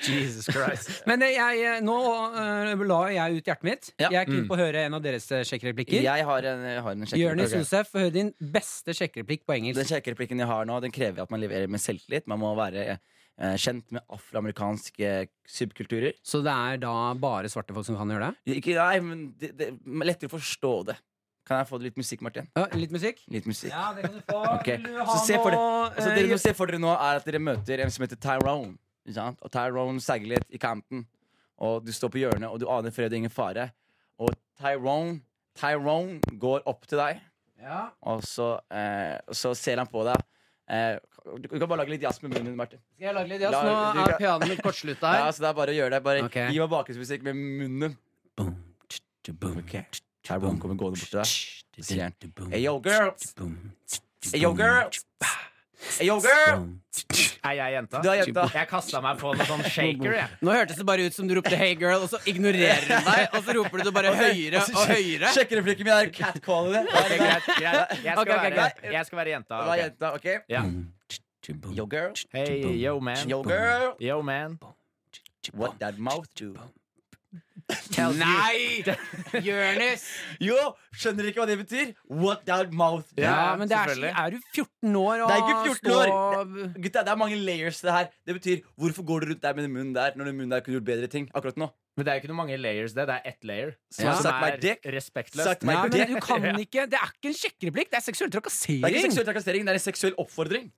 Speaker 6: Jesus Christ.
Speaker 5: Men eh, jeg, eh, nå eh, la jeg ut hjertet mitt.
Speaker 4: Ja. Mm.
Speaker 5: Jeg er keen på å høre en av deres eh, sjekkereplikker.
Speaker 4: Jeg har en, jeg har en
Speaker 5: Jonis
Speaker 4: sjekkereplikk.
Speaker 5: Josef, få høre din beste sjekkereplikk på engelsk.
Speaker 4: Den sjekkereplikken jeg har nå, den krever at man leverer med selvtillit. Man må være eh, kjent med afroamerikanske eh, subkulturer.
Speaker 5: Så det er da bare svarte folk som kan gjøre det?
Speaker 4: Ikke, nei, men det, det, lettere å forstå det. Kan jeg få litt musikk, Martin?
Speaker 5: Ja, litt musikk?
Speaker 4: Litt musikk.
Speaker 5: Ja, det kan du eh, få.
Speaker 4: Ok, så se for dere altså, dere, må se for dere nå er at dere møter en som heter Tyrone. Ikke sant? Og Tyrone seiler litt i Campton. Og du står på hjørnet, og du aner fred og ingen fare. Og Tyrone Tyrone går opp til deg,
Speaker 5: Ja.
Speaker 4: og så, eh, så ser han på deg. Eh, Du kan bare lage litt jazz med munnen din, Martin.
Speaker 1: Skal jeg lage litt jazz?
Speaker 4: La- du
Speaker 1: Nå er
Speaker 4: kan-
Speaker 1: pianoet mitt kortslutta
Speaker 4: Ja,
Speaker 1: her.
Speaker 4: så det er bare å gjøre det. Bare
Speaker 5: Ok.
Speaker 4: Gi meg bakgrunnsmusikk med munnen.
Speaker 5: Okay.
Speaker 4: Her er Bonko med gående bort til deg.
Speaker 5: Så
Speaker 4: sier han,
Speaker 5: Hey yo, girls!
Speaker 4: Hey, yo, girls! Hey, yo, girl!
Speaker 6: Er jeg jenta?
Speaker 4: Du er jenta.
Speaker 6: Jeg kasta meg på noe sånn shaker, jeg.
Speaker 1: Nå hørtes det bare ut som du ropte 'hey girl', og så ignorerer hun deg. Og så roper du det bare høyere
Speaker 4: altså,
Speaker 1: og høyere.
Speaker 4: Sjekkereplikken min er catcalling det.
Speaker 6: [laughs] Ok, greit, greit. Jeg, skal
Speaker 1: Ok, ok,
Speaker 6: være, jeg skal være jenta.
Speaker 4: Det var
Speaker 6: ok.
Speaker 4: jenta, ok?
Speaker 6: Ja.
Speaker 4: Yo, girl.
Speaker 6: Hey, yo, man.
Speaker 4: Yo, girl.
Speaker 6: Yo, man.
Speaker 4: What
Speaker 5: [laughs]
Speaker 4: that mouth do?
Speaker 1: Nei! Jonis!
Speaker 4: Yo, skjønner ikke hva det betyr? What that mouth do?
Speaker 5: Ja, men det er,
Speaker 6: selvfølgelig.
Speaker 5: er du 14 år og
Speaker 4: Det er ikke 14 år.
Speaker 5: står-
Speaker 4: Gutta, det er mange layers det her. Det betyr, hvorfor går du rundt der med den munnen der, når den munnen der kunne gjort bedre ting akkurat nå?
Speaker 6: Men det er jo ikke noe mange layers, det. Det er ett layer. Som,
Speaker 4: Ja. Suck
Speaker 6: som
Speaker 4: my
Speaker 6: er
Speaker 4: dick. Suck
Speaker 6: respektløst.
Speaker 4: my
Speaker 5: Nei,
Speaker 4: dick.
Speaker 5: men du kan ikke Det er ikke en sjekkereplikk, det er seksuell
Speaker 4: Det er ikke
Speaker 5: trakassering.
Speaker 4: seksuell trakassering, det er en seksuell oppfordring.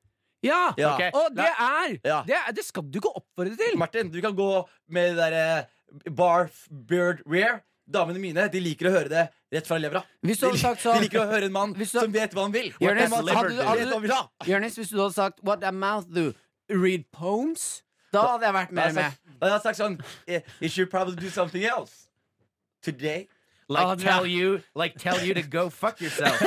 Speaker 5: Ja,
Speaker 4: Ja.
Speaker 6: Ok.
Speaker 5: Og det er,
Speaker 4: Ja.
Speaker 5: det er Det skal du ikke oppfordre til.
Speaker 4: Martin, du kan gå med det derre bar beard rear. Damene mine de liker å høre det rett fra levra.
Speaker 1: Hvis du hadde
Speaker 4: De, lik-
Speaker 1: sagt sånn-
Speaker 4: de liker å høre en mann
Speaker 1: Hvis du-
Speaker 4: som vet hva han vil.
Speaker 1: Gjør det.
Speaker 4: En mann som
Speaker 1: Hadde du-
Speaker 4: vet
Speaker 1: hadde du-
Speaker 4: hva han vil ha.
Speaker 1: Jonis, hvis du hadde sagt 'what that mouth do', read poems, da hadde jeg vært
Speaker 4: Da
Speaker 1: mer
Speaker 4: hadde jeg
Speaker 1: med.
Speaker 4: sagt- da hadde jeg sagt sånn eh, You should probably do something else. Today.
Speaker 1: Ah,
Speaker 6: Like
Speaker 1: det er-
Speaker 6: tell you, like tell you to go fuck yourself.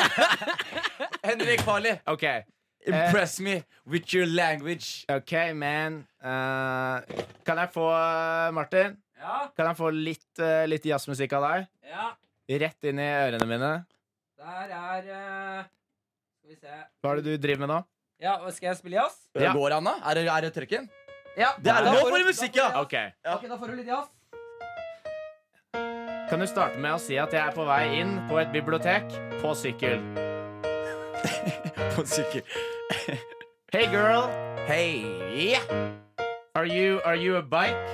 Speaker 4: Henrik Farley,
Speaker 6: Ok,
Speaker 1: Eh.
Speaker 4: impress me with your language.
Speaker 6: ok, man. Eh, kan jeg få, Martin?
Speaker 5: Ja.
Speaker 6: Kan jeg få litt, eh, litt jazzmusikk av deg?
Speaker 5: Ja,
Speaker 6: Rett inn i ørene mine.
Speaker 5: der er eh, Skal vi se
Speaker 6: Hva er det du driver med nå?
Speaker 5: Ja, skal jeg spille jazz?
Speaker 6: Ja.
Speaker 4: Går det an, da? Er det, er
Speaker 1: [laughs]
Speaker 4: det tørken?
Speaker 5: Ja,
Speaker 4: Det er
Speaker 6: Da
Speaker 4: lov
Speaker 5: får
Speaker 4: for
Speaker 5: du-
Speaker 4: musikk, ja!
Speaker 6: Ok,
Speaker 5: Ok, da får du litt jazz.
Speaker 6: Kan du starte med å si at jeg er på vei inn på et bibliotek på sykkel?
Speaker 4: På en sykkel.
Speaker 6: Hey girl,
Speaker 4: Hey, yeah.
Speaker 6: are you, are you a bike?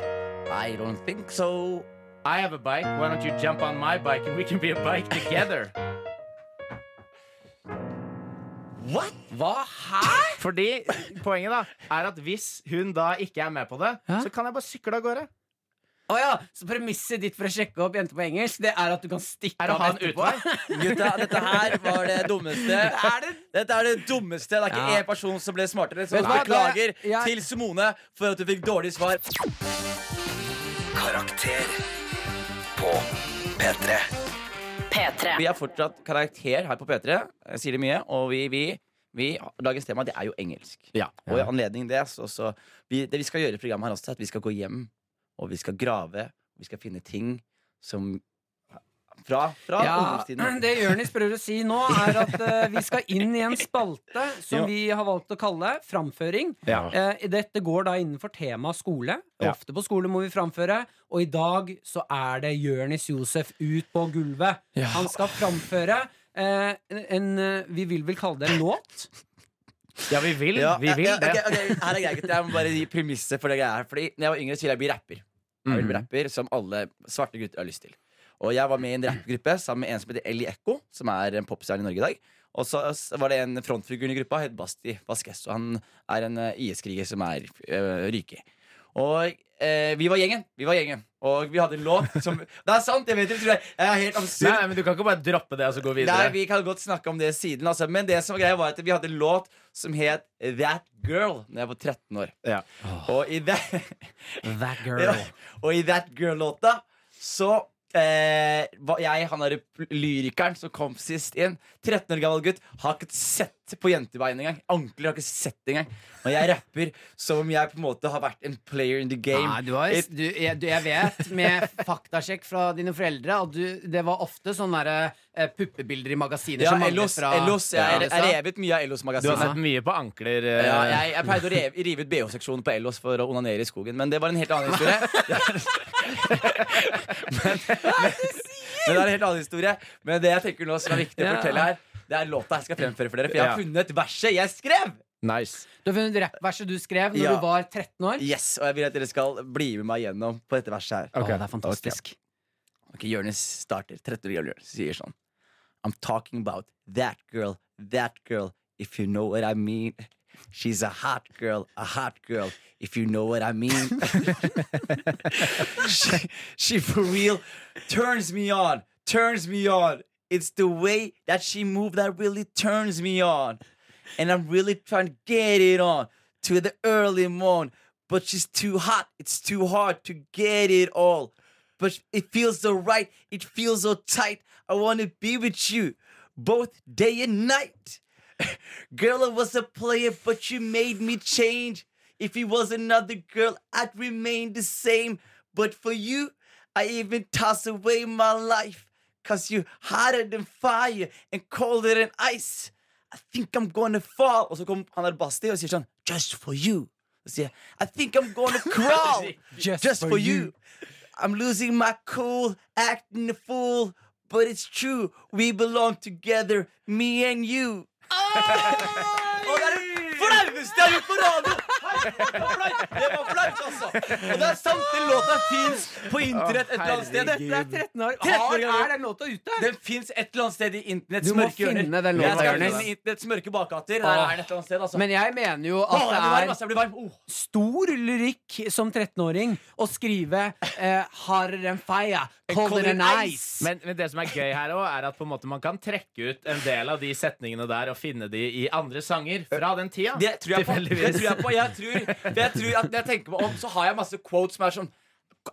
Speaker 4: I don't think so.
Speaker 6: I have a bike. Why don't you jump on my bike and we can be a bike together?
Speaker 4: [laughs] What?
Speaker 5: Hva? Hæ?
Speaker 6: Fordi poenget da er at hvis hun da ikke er med på det,
Speaker 5: Hæ?
Speaker 6: så kan jeg bare sykle av gårde.
Speaker 5: Å ja, så premisset ditt for å sjekke opp jenter på engelsk, det er at du kan stikke
Speaker 6: Er å
Speaker 5: av
Speaker 6: ha en
Speaker 5: etterpå?
Speaker 6: utvei.
Speaker 4: [laughs] Gutta, dette her var det dummeste.
Speaker 5: [laughs] Er det?
Speaker 4: Dette er det dummeste. Det er ikke
Speaker 5: Ja.
Speaker 4: én person som ble smartere. Så
Speaker 5: Vet du hva?
Speaker 4: beklager
Speaker 5: Det- jeg-
Speaker 4: til Simone for at du fikk dårlig svar.
Speaker 3: Karakter på P3.
Speaker 7: P3.
Speaker 4: Vi er fortsatt karakter her på P3. Jeg sier det mye. Og vi, vi, vi dagens tema det er jo engelsk. Og i anledning det, så, så vi, Det vi skal gjøre i programmet her også, er at vi skal gå hjem, og vi skal grave. Vi skal finne ting som Fra, fra
Speaker 5: Ja, [clears throat]
Speaker 4: ungdomstiden.
Speaker 5: det Jonis prøver å si nå, er at eh, vi skal inn i en spalte som
Speaker 4: Ja.
Speaker 5: vi har valgt å kalle Framføring. Eh, dette går da innenfor temaet skole.
Speaker 6: Ja.
Speaker 5: Ofte på skole må vi framføre. Og i dag så er det Jonis Josef ut på gulvet. Han skal framføre eh, en, en eh, Vi vil vel kalle det en låt.
Speaker 6: Ja, vi vil,
Speaker 4: Ja,
Speaker 6: vi vil
Speaker 4: ja,
Speaker 6: det.
Speaker 4: ok, ok, Her er greit, gutter. jeg må bare gi premisset for det greia her. Fordi når jeg var yngre, så ville jeg bli rapper. Jeg
Speaker 6: Mm.
Speaker 4: ville bli rapper Som alle svarte gutter har lyst til. Og jeg var med i en rappgruppe sammen med en som heter Ellie Echo, som er en popstjerne i Norge i dag. Og så s- var det en frontfigur i gruppa, het Basti Vasquez. Og han er en eh, IS-kriger som er uh, ryke. Og eh, vi var gjengen. Vi var gjengen Og vi hadde en låt som Det er sant! Jeg vet ikke, tror jeg. jeg er helt absurd.
Speaker 6: Nei, nei, men Du kan ikke bare droppe det og så gå
Speaker 4: Nei,
Speaker 6: videre.
Speaker 4: vi kan godt snakke om det siden altså. Men det som var greia var at vi hadde en låt som het That Girl Når jeg var 13 år
Speaker 6: Ja.
Speaker 4: og, i that,
Speaker 5: That
Speaker 4: [laughs] ja, og i That Girl-låta Så eh, var jeg, han er lyrikeren som kom sist inn 13 år gammel gutt Har ikke sett på jentebein engang Ankler har ikke sett engang Og jeg rapper som om jeg på en måte har vært en player in the game
Speaker 1: Nei, du har,
Speaker 4: Et-
Speaker 1: du, jeg, du, jeg vet med faktasjekk fra dine foreldre at du, det var ofte sånne der, eh, puppebilder i magasiner
Speaker 4: ja,
Speaker 1: som manglet
Speaker 4: Ellos,
Speaker 1: fra
Speaker 4: Ellos, jeg
Speaker 1: Ja,
Speaker 4: har revet mye av Ellos
Speaker 6: Du har
Speaker 4: magasinet
Speaker 6: sett mye på ankler. eh,
Speaker 4: Ja, jeg, jeg pleide å rive, rive ut BH-seksjonen på Ellos for å onanere i skogen, men det var en helt annen historie. men, men, men det er en helt annen historie Men det jeg tenker nå som er viktig å
Speaker 5: Ja.
Speaker 4: fortelle her, det er låta jeg skal fremføre for dere. For jeg har
Speaker 6: Ja.
Speaker 4: funnet verset jeg skrev!
Speaker 6: Nice.
Speaker 1: Du har funnet rappverset du skrev når
Speaker 4: Ja.
Speaker 1: du var 13 år?
Speaker 4: Yes, Og jeg vil at dere skal bli med meg gjennom på dette verset her.
Speaker 6: Ok.
Speaker 1: Å, det er fantastisk.
Speaker 4: Ok, Jonis starter. 13 år gammel Jonis sier sånn I'm talking about that girl, that girl, if you know what I mean. She's a hot girl, a hot girl, if you know what I mean. she, she for real turns me on, turns me on. It's the way that she move that really turns me on. and I'm really trying to get it on to the early morn. But she's too hot, it's too hard to get it all. But it feels so right, it feels so tight. I wanna be with you both day and night. Girl, I was a player, but you made me change. If it was another girl, I'd remain the same. But for you, I even toss away my life. Cause you're hotter than fire and colder than ice. I think I'm gonna fall. Og så kom han der Basti og sier sånn Just for you. Så sier jeg I think I'm [laughs] gonna crawl.
Speaker 10: Just
Speaker 4: just,
Speaker 10: for
Speaker 4: for, you. I'm losing my cool, acting a fool. But it's true. We belong together, me and you. Og det er det flaueste jeg har gjort på radio! Herregud, det var flaut. Det var flaut, altså. Og det er sant, den låta fins på internett et eller annet sted.
Speaker 6: herregud.
Speaker 5: Det er 13 år.
Speaker 4: 13 år
Speaker 5: Har,
Speaker 4: gammel.
Speaker 5: er den låta ute?
Speaker 4: Den fins et eller annet sted i internetts
Speaker 5: Du må
Speaker 4: mørke hjørner.
Speaker 5: finne den låta,
Speaker 4: Jeg skal
Speaker 5: Jonis.
Speaker 4: finne internetts mørke bakgater. Der er den et eller annet sted, altså.
Speaker 5: Men jeg mener jo
Speaker 4: Åh,
Speaker 5: at
Speaker 4: jeg
Speaker 5: det
Speaker 4: blir varm,
Speaker 5: er
Speaker 4: altså. Jeg blir varm. Åh.
Speaker 5: stor lyrikk som 13-åring å skrive eh, 'hardere enn feia', 'colder than ice'.
Speaker 6: Men, men det som er gøy her også, er at på en måte man kan trekke ut en del av de setningene der og finne de i andre sanger fra den tida.
Speaker 4: Det tror jeg på. Det
Speaker 6: Tilfeldigvis.
Speaker 4: tror jeg på. Jeg tror, for jeg tror at når jeg tenker meg om, så har jeg masse quotes som er sånn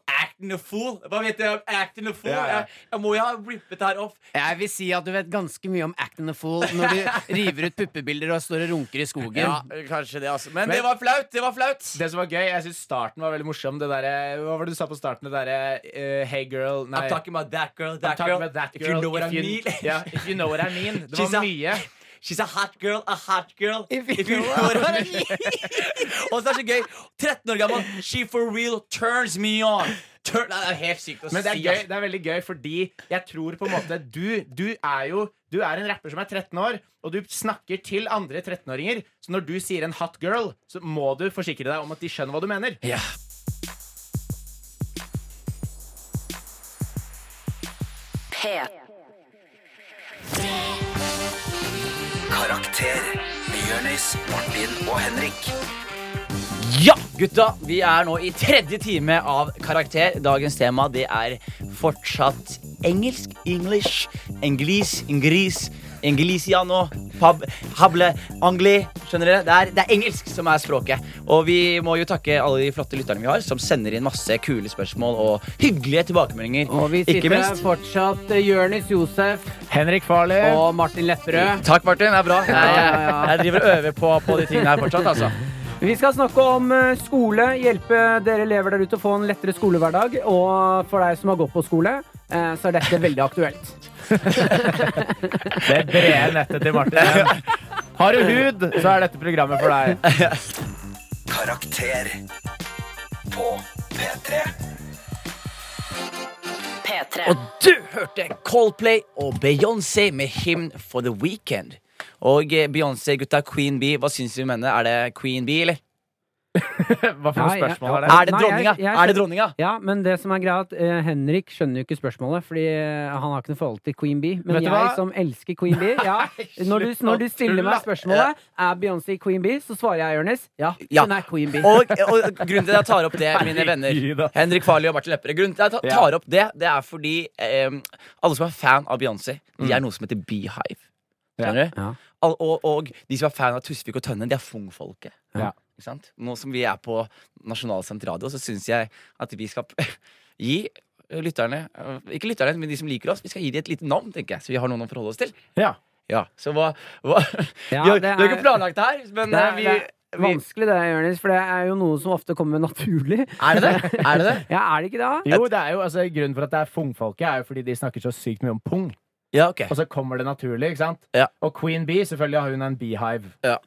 Speaker 4: Acting a fool. Hva vet jeg om acting a fool?
Speaker 6: Ja, ja.
Speaker 4: Jeg, jeg må jo ha rippet det her off.
Speaker 5: Jeg vil si at du vet ganske mye om Act and the Fool når [laughs] du river ut puppebilder og står og runker i skogen.
Speaker 4: Ja, kanskje det, altså. Men,
Speaker 6: Men-
Speaker 4: det var flaut. Det var flaut.
Speaker 6: Det som var gøy, jeg synes starten var veldig morsom. Det derre- hva var det du sa på starten? Det derre eh, Hey girl Nei.
Speaker 4: I'm talking about that girl,
Speaker 6: I'm
Speaker 4: that
Speaker 6: talking
Speaker 4: girl.
Speaker 6: about that
Speaker 4: If you know what I
Speaker 6: If you-
Speaker 4: mean.
Speaker 6: [laughs] ja, if you know what I mean. Det
Speaker 4: She's a-
Speaker 6: var mye.
Speaker 4: [laughs] She's a hot girl, a hot girl.
Speaker 5: If you know
Speaker 4: know what I mean. [laughs] Og så er det så gøy. 13 år gammel. She for real turns me on. Turn, Nei, det er helt sykt å
Speaker 6: Men det er,
Speaker 4: si.
Speaker 6: gøy,
Speaker 4: ass.
Speaker 6: det er veldig gøy, fordi jeg tror på en måte Du, du er jo du er en rapper som er 13 år, og du snakker til andre 13-åringer. Så når du sier en hot girl, så må du forsikre deg om at de skjønner hva du mener.
Speaker 3: Karakter med Jonis, Martin og Henrik.
Speaker 4: Ja, gutta, vi er nå i tredje time av Karakter. Dagens tema det er fortsatt engelsk. English. Englis. Ingris. Englisiano. Pab, hable. Angli. Skjønner dere? Det er, det er engelsk som er språket. Og vi må jo takke alle de flotte lytterne vi har, som sender inn masse kule spørsmål og hyggelige tilbakemeldinger.
Speaker 5: Og vi
Speaker 4: Ikke
Speaker 5: sitter
Speaker 4: minst.
Speaker 5: fortsatt eh, Jørnis Josef
Speaker 6: Henrik Farley.
Speaker 5: og Martin Lepperød.
Speaker 4: Takk, Martin. Det er
Speaker 5: [laughs]
Speaker 4: bra. Nei,
Speaker 5: Ja,
Speaker 4: jeg,
Speaker 5: ja, ja.
Speaker 4: jeg driver og øver på, på de tingene her fortsatt, altså.
Speaker 5: Vi skal snakke om eh, skole, hjelpe dere elever der ute å få en lettere skolehverdag. Og for deg som har gått på skole, eh, så er dette veldig aktuelt.
Speaker 6: Det brede nettet til Martin. [laughs] Har du hud, så er dette programmet for deg.
Speaker 3: Karakter på P3.
Speaker 11: P3.
Speaker 4: Og du hørte Coldplay og Beyoncé med Him for the Weekend. Og eh, Beyoncé, gutta, Queen Bee, hva syns du om henne? Er det Queen Bee, eller?
Speaker 6: [laughs] Hva for noe
Speaker 5: Nei, jeg-
Speaker 6: spørsmål er det?
Speaker 4: Er det
Speaker 5: Eh, Nei,
Speaker 4: dronninga?
Speaker 5: jeg- jeg
Speaker 4: Er det
Speaker 5: skjønner-
Speaker 4: dronninga?
Speaker 5: Ja, men det som er greia er at eh, Henrik skjønner jo ikke spørsmålet, fordi eh, han har ikke noe forhold til Queen Bee. Men
Speaker 6: Vet du
Speaker 5: jeg
Speaker 6: hva?
Speaker 5: som elsker Queen Bee
Speaker 4: [laughs]
Speaker 5: ja, når, du, når du stiller meg spørsmålet Er Beyoncé Queen Bee, så svarer jeg Jonis. Ja,
Speaker 4: Ja.
Speaker 5: hun er Queen Bee.
Speaker 4: Og, og grunnen til at jeg tar opp det, mine venner Henrik Farley og Martin Lepperød Grunnen til at jeg ta- tar opp det, det er fordi eh, alle som er fan av Beyoncé, de er noe som heter Beehive. Skjønner du?
Speaker 5: Mm. Ja.
Speaker 4: Al- Og, og de som er fan av Tusvik og Tønne, de er Fung-folket.
Speaker 6: Ja.
Speaker 4: Ikke sant? Nå som vi er på Nasjonalsendt radio, så syns jeg at vi skal p- [laughs] gi lytterne eh, Ikke lytterne, men de som liker oss, vi skal gi dem et lite navn, tenker jeg. Så vi har noen å forholde oss til.
Speaker 6: Ja.
Speaker 4: Ja, så hva, hva [laughs]
Speaker 5: Ja,
Speaker 4: Vi har
Speaker 5: det
Speaker 4: vi har
Speaker 5: er-
Speaker 4: ikke planlagt det her, men
Speaker 5: det,
Speaker 4: eh,
Speaker 5: er,
Speaker 4: vi,
Speaker 5: det er
Speaker 4: vi
Speaker 5: vanskelig det, Jonis, for det er jo noe som ofte kommer naturlig.
Speaker 4: Er det det? Er det det?
Speaker 5: [laughs] Ja, er det ikke det? da?
Speaker 6: Jo, det er jo, altså, Grunnen for at det er fungfolket, er jo fordi de snakker så sykt mye om pung.
Speaker 4: Ja, ok.
Speaker 6: Og så kommer det naturlig. ikke sant?
Speaker 4: Ja.
Speaker 6: Og Queen Bee, selvfølgelig har hun en beehive.
Speaker 5: Ja.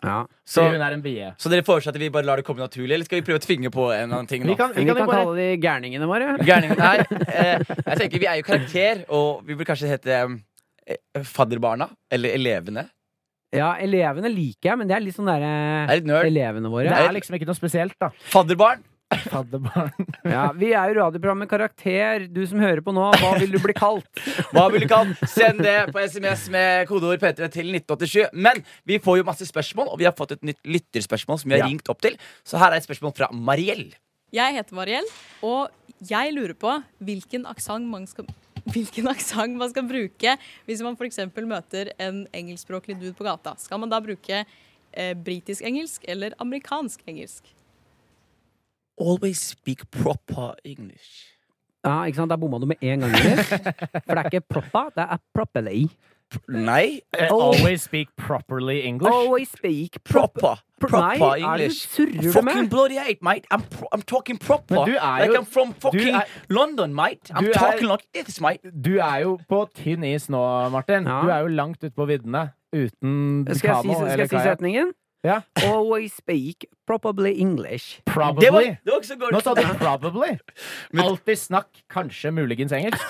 Speaker 6: Så
Speaker 4: Så-
Speaker 6: hun er en bie.
Speaker 4: Så dere foreslår at vi bare lar det komme naturlig, eller skal vi prøve å tvinge på en eller annen ting?
Speaker 6: Vi
Speaker 4: nå? [laughs]
Speaker 6: kan, vi
Speaker 5: Vi
Speaker 6: kan
Speaker 5: kan
Speaker 6: jo bare
Speaker 5: kalle de gærningene våre.
Speaker 4: Gærning- Nei, eh, jeg tenker vi er jo karakter, og vi burde kanskje hete eh, Fadderbarna. Eller Elevene.
Speaker 5: Ja, elevene liker jeg, men det er litt sånn
Speaker 4: Jeg
Speaker 5: derre
Speaker 4: er litt nerd.
Speaker 5: Elevene våre.
Speaker 6: Det er liksom ikke noe spesielt, da.
Speaker 4: Fadderbarn.
Speaker 6: Fadderbarn.
Speaker 5: Ja, vi er jo radioprogrammet Karakter. Du som hører på nå, hva vil du bli
Speaker 6: [laughs]
Speaker 5: kalt?
Speaker 4: Hva vil du kalle Send det på SMS med kodeord P3 til 1987. Men vi får jo masse spørsmål, og vi har fått et nytt lytterspørsmål som vi har
Speaker 6: Ja.
Speaker 4: ringt opp til. Så her er et spørsmål fra Mariell.
Speaker 12: Jeg heter Mariell, og jeg lurer på hvilken aksent man skal Hvilken aksent man skal bruke hvis man f.eks. møter en engelskspråklig dude på gata. Skal man da bruke eh, britisk engelsk eller amerikansk engelsk?
Speaker 4: Always speak proper English.
Speaker 5: Ja, ikke sant? Der bomma du med en gang. Elias. For det er ikke proppa, det er properly.
Speaker 4: Nei,
Speaker 6: [laughs] Always speak properly English.
Speaker 5: Always speak
Speaker 4: proper. Proper
Speaker 5: Nei, er det-
Speaker 4: English.
Speaker 5: surrer du
Speaker 4: Fucking
Speaker 5: med?
Speaker 4: bloody hate, mate. I'm, pro I'm talking proper.
Speaker 6: Men du er
Speaker 4: like
Speaker 6: jo-
Speaker 4: I'm from fucking
Speaker 6: er-
Speaker 4: London, mate. I'm
Speaker 6: Du er-
Speaker 4: talking like this, mate.
Speaker 6: Du er jo på tynn is nå, Martin.
Speaker 5: Ja.
Speaker 6: Du er jo langt ute på viddene. Uten
Speaker 5: Skal jeg si,
Speaker 6: kano
Speaker 5: skal
Speaker 6: eller
Speaker 5: jeg si
Speaker 6: kajakk.
Speaker 5: setningen?
Speaker 6: Ja.
Speaker 5: Always speak probably English.
Speaker 6: Probably.
Speaker 4: Det var, det var ikke så godt.
Speaker 6: Nå sa du probably. Alltid snakk kanskje muligens engelsk.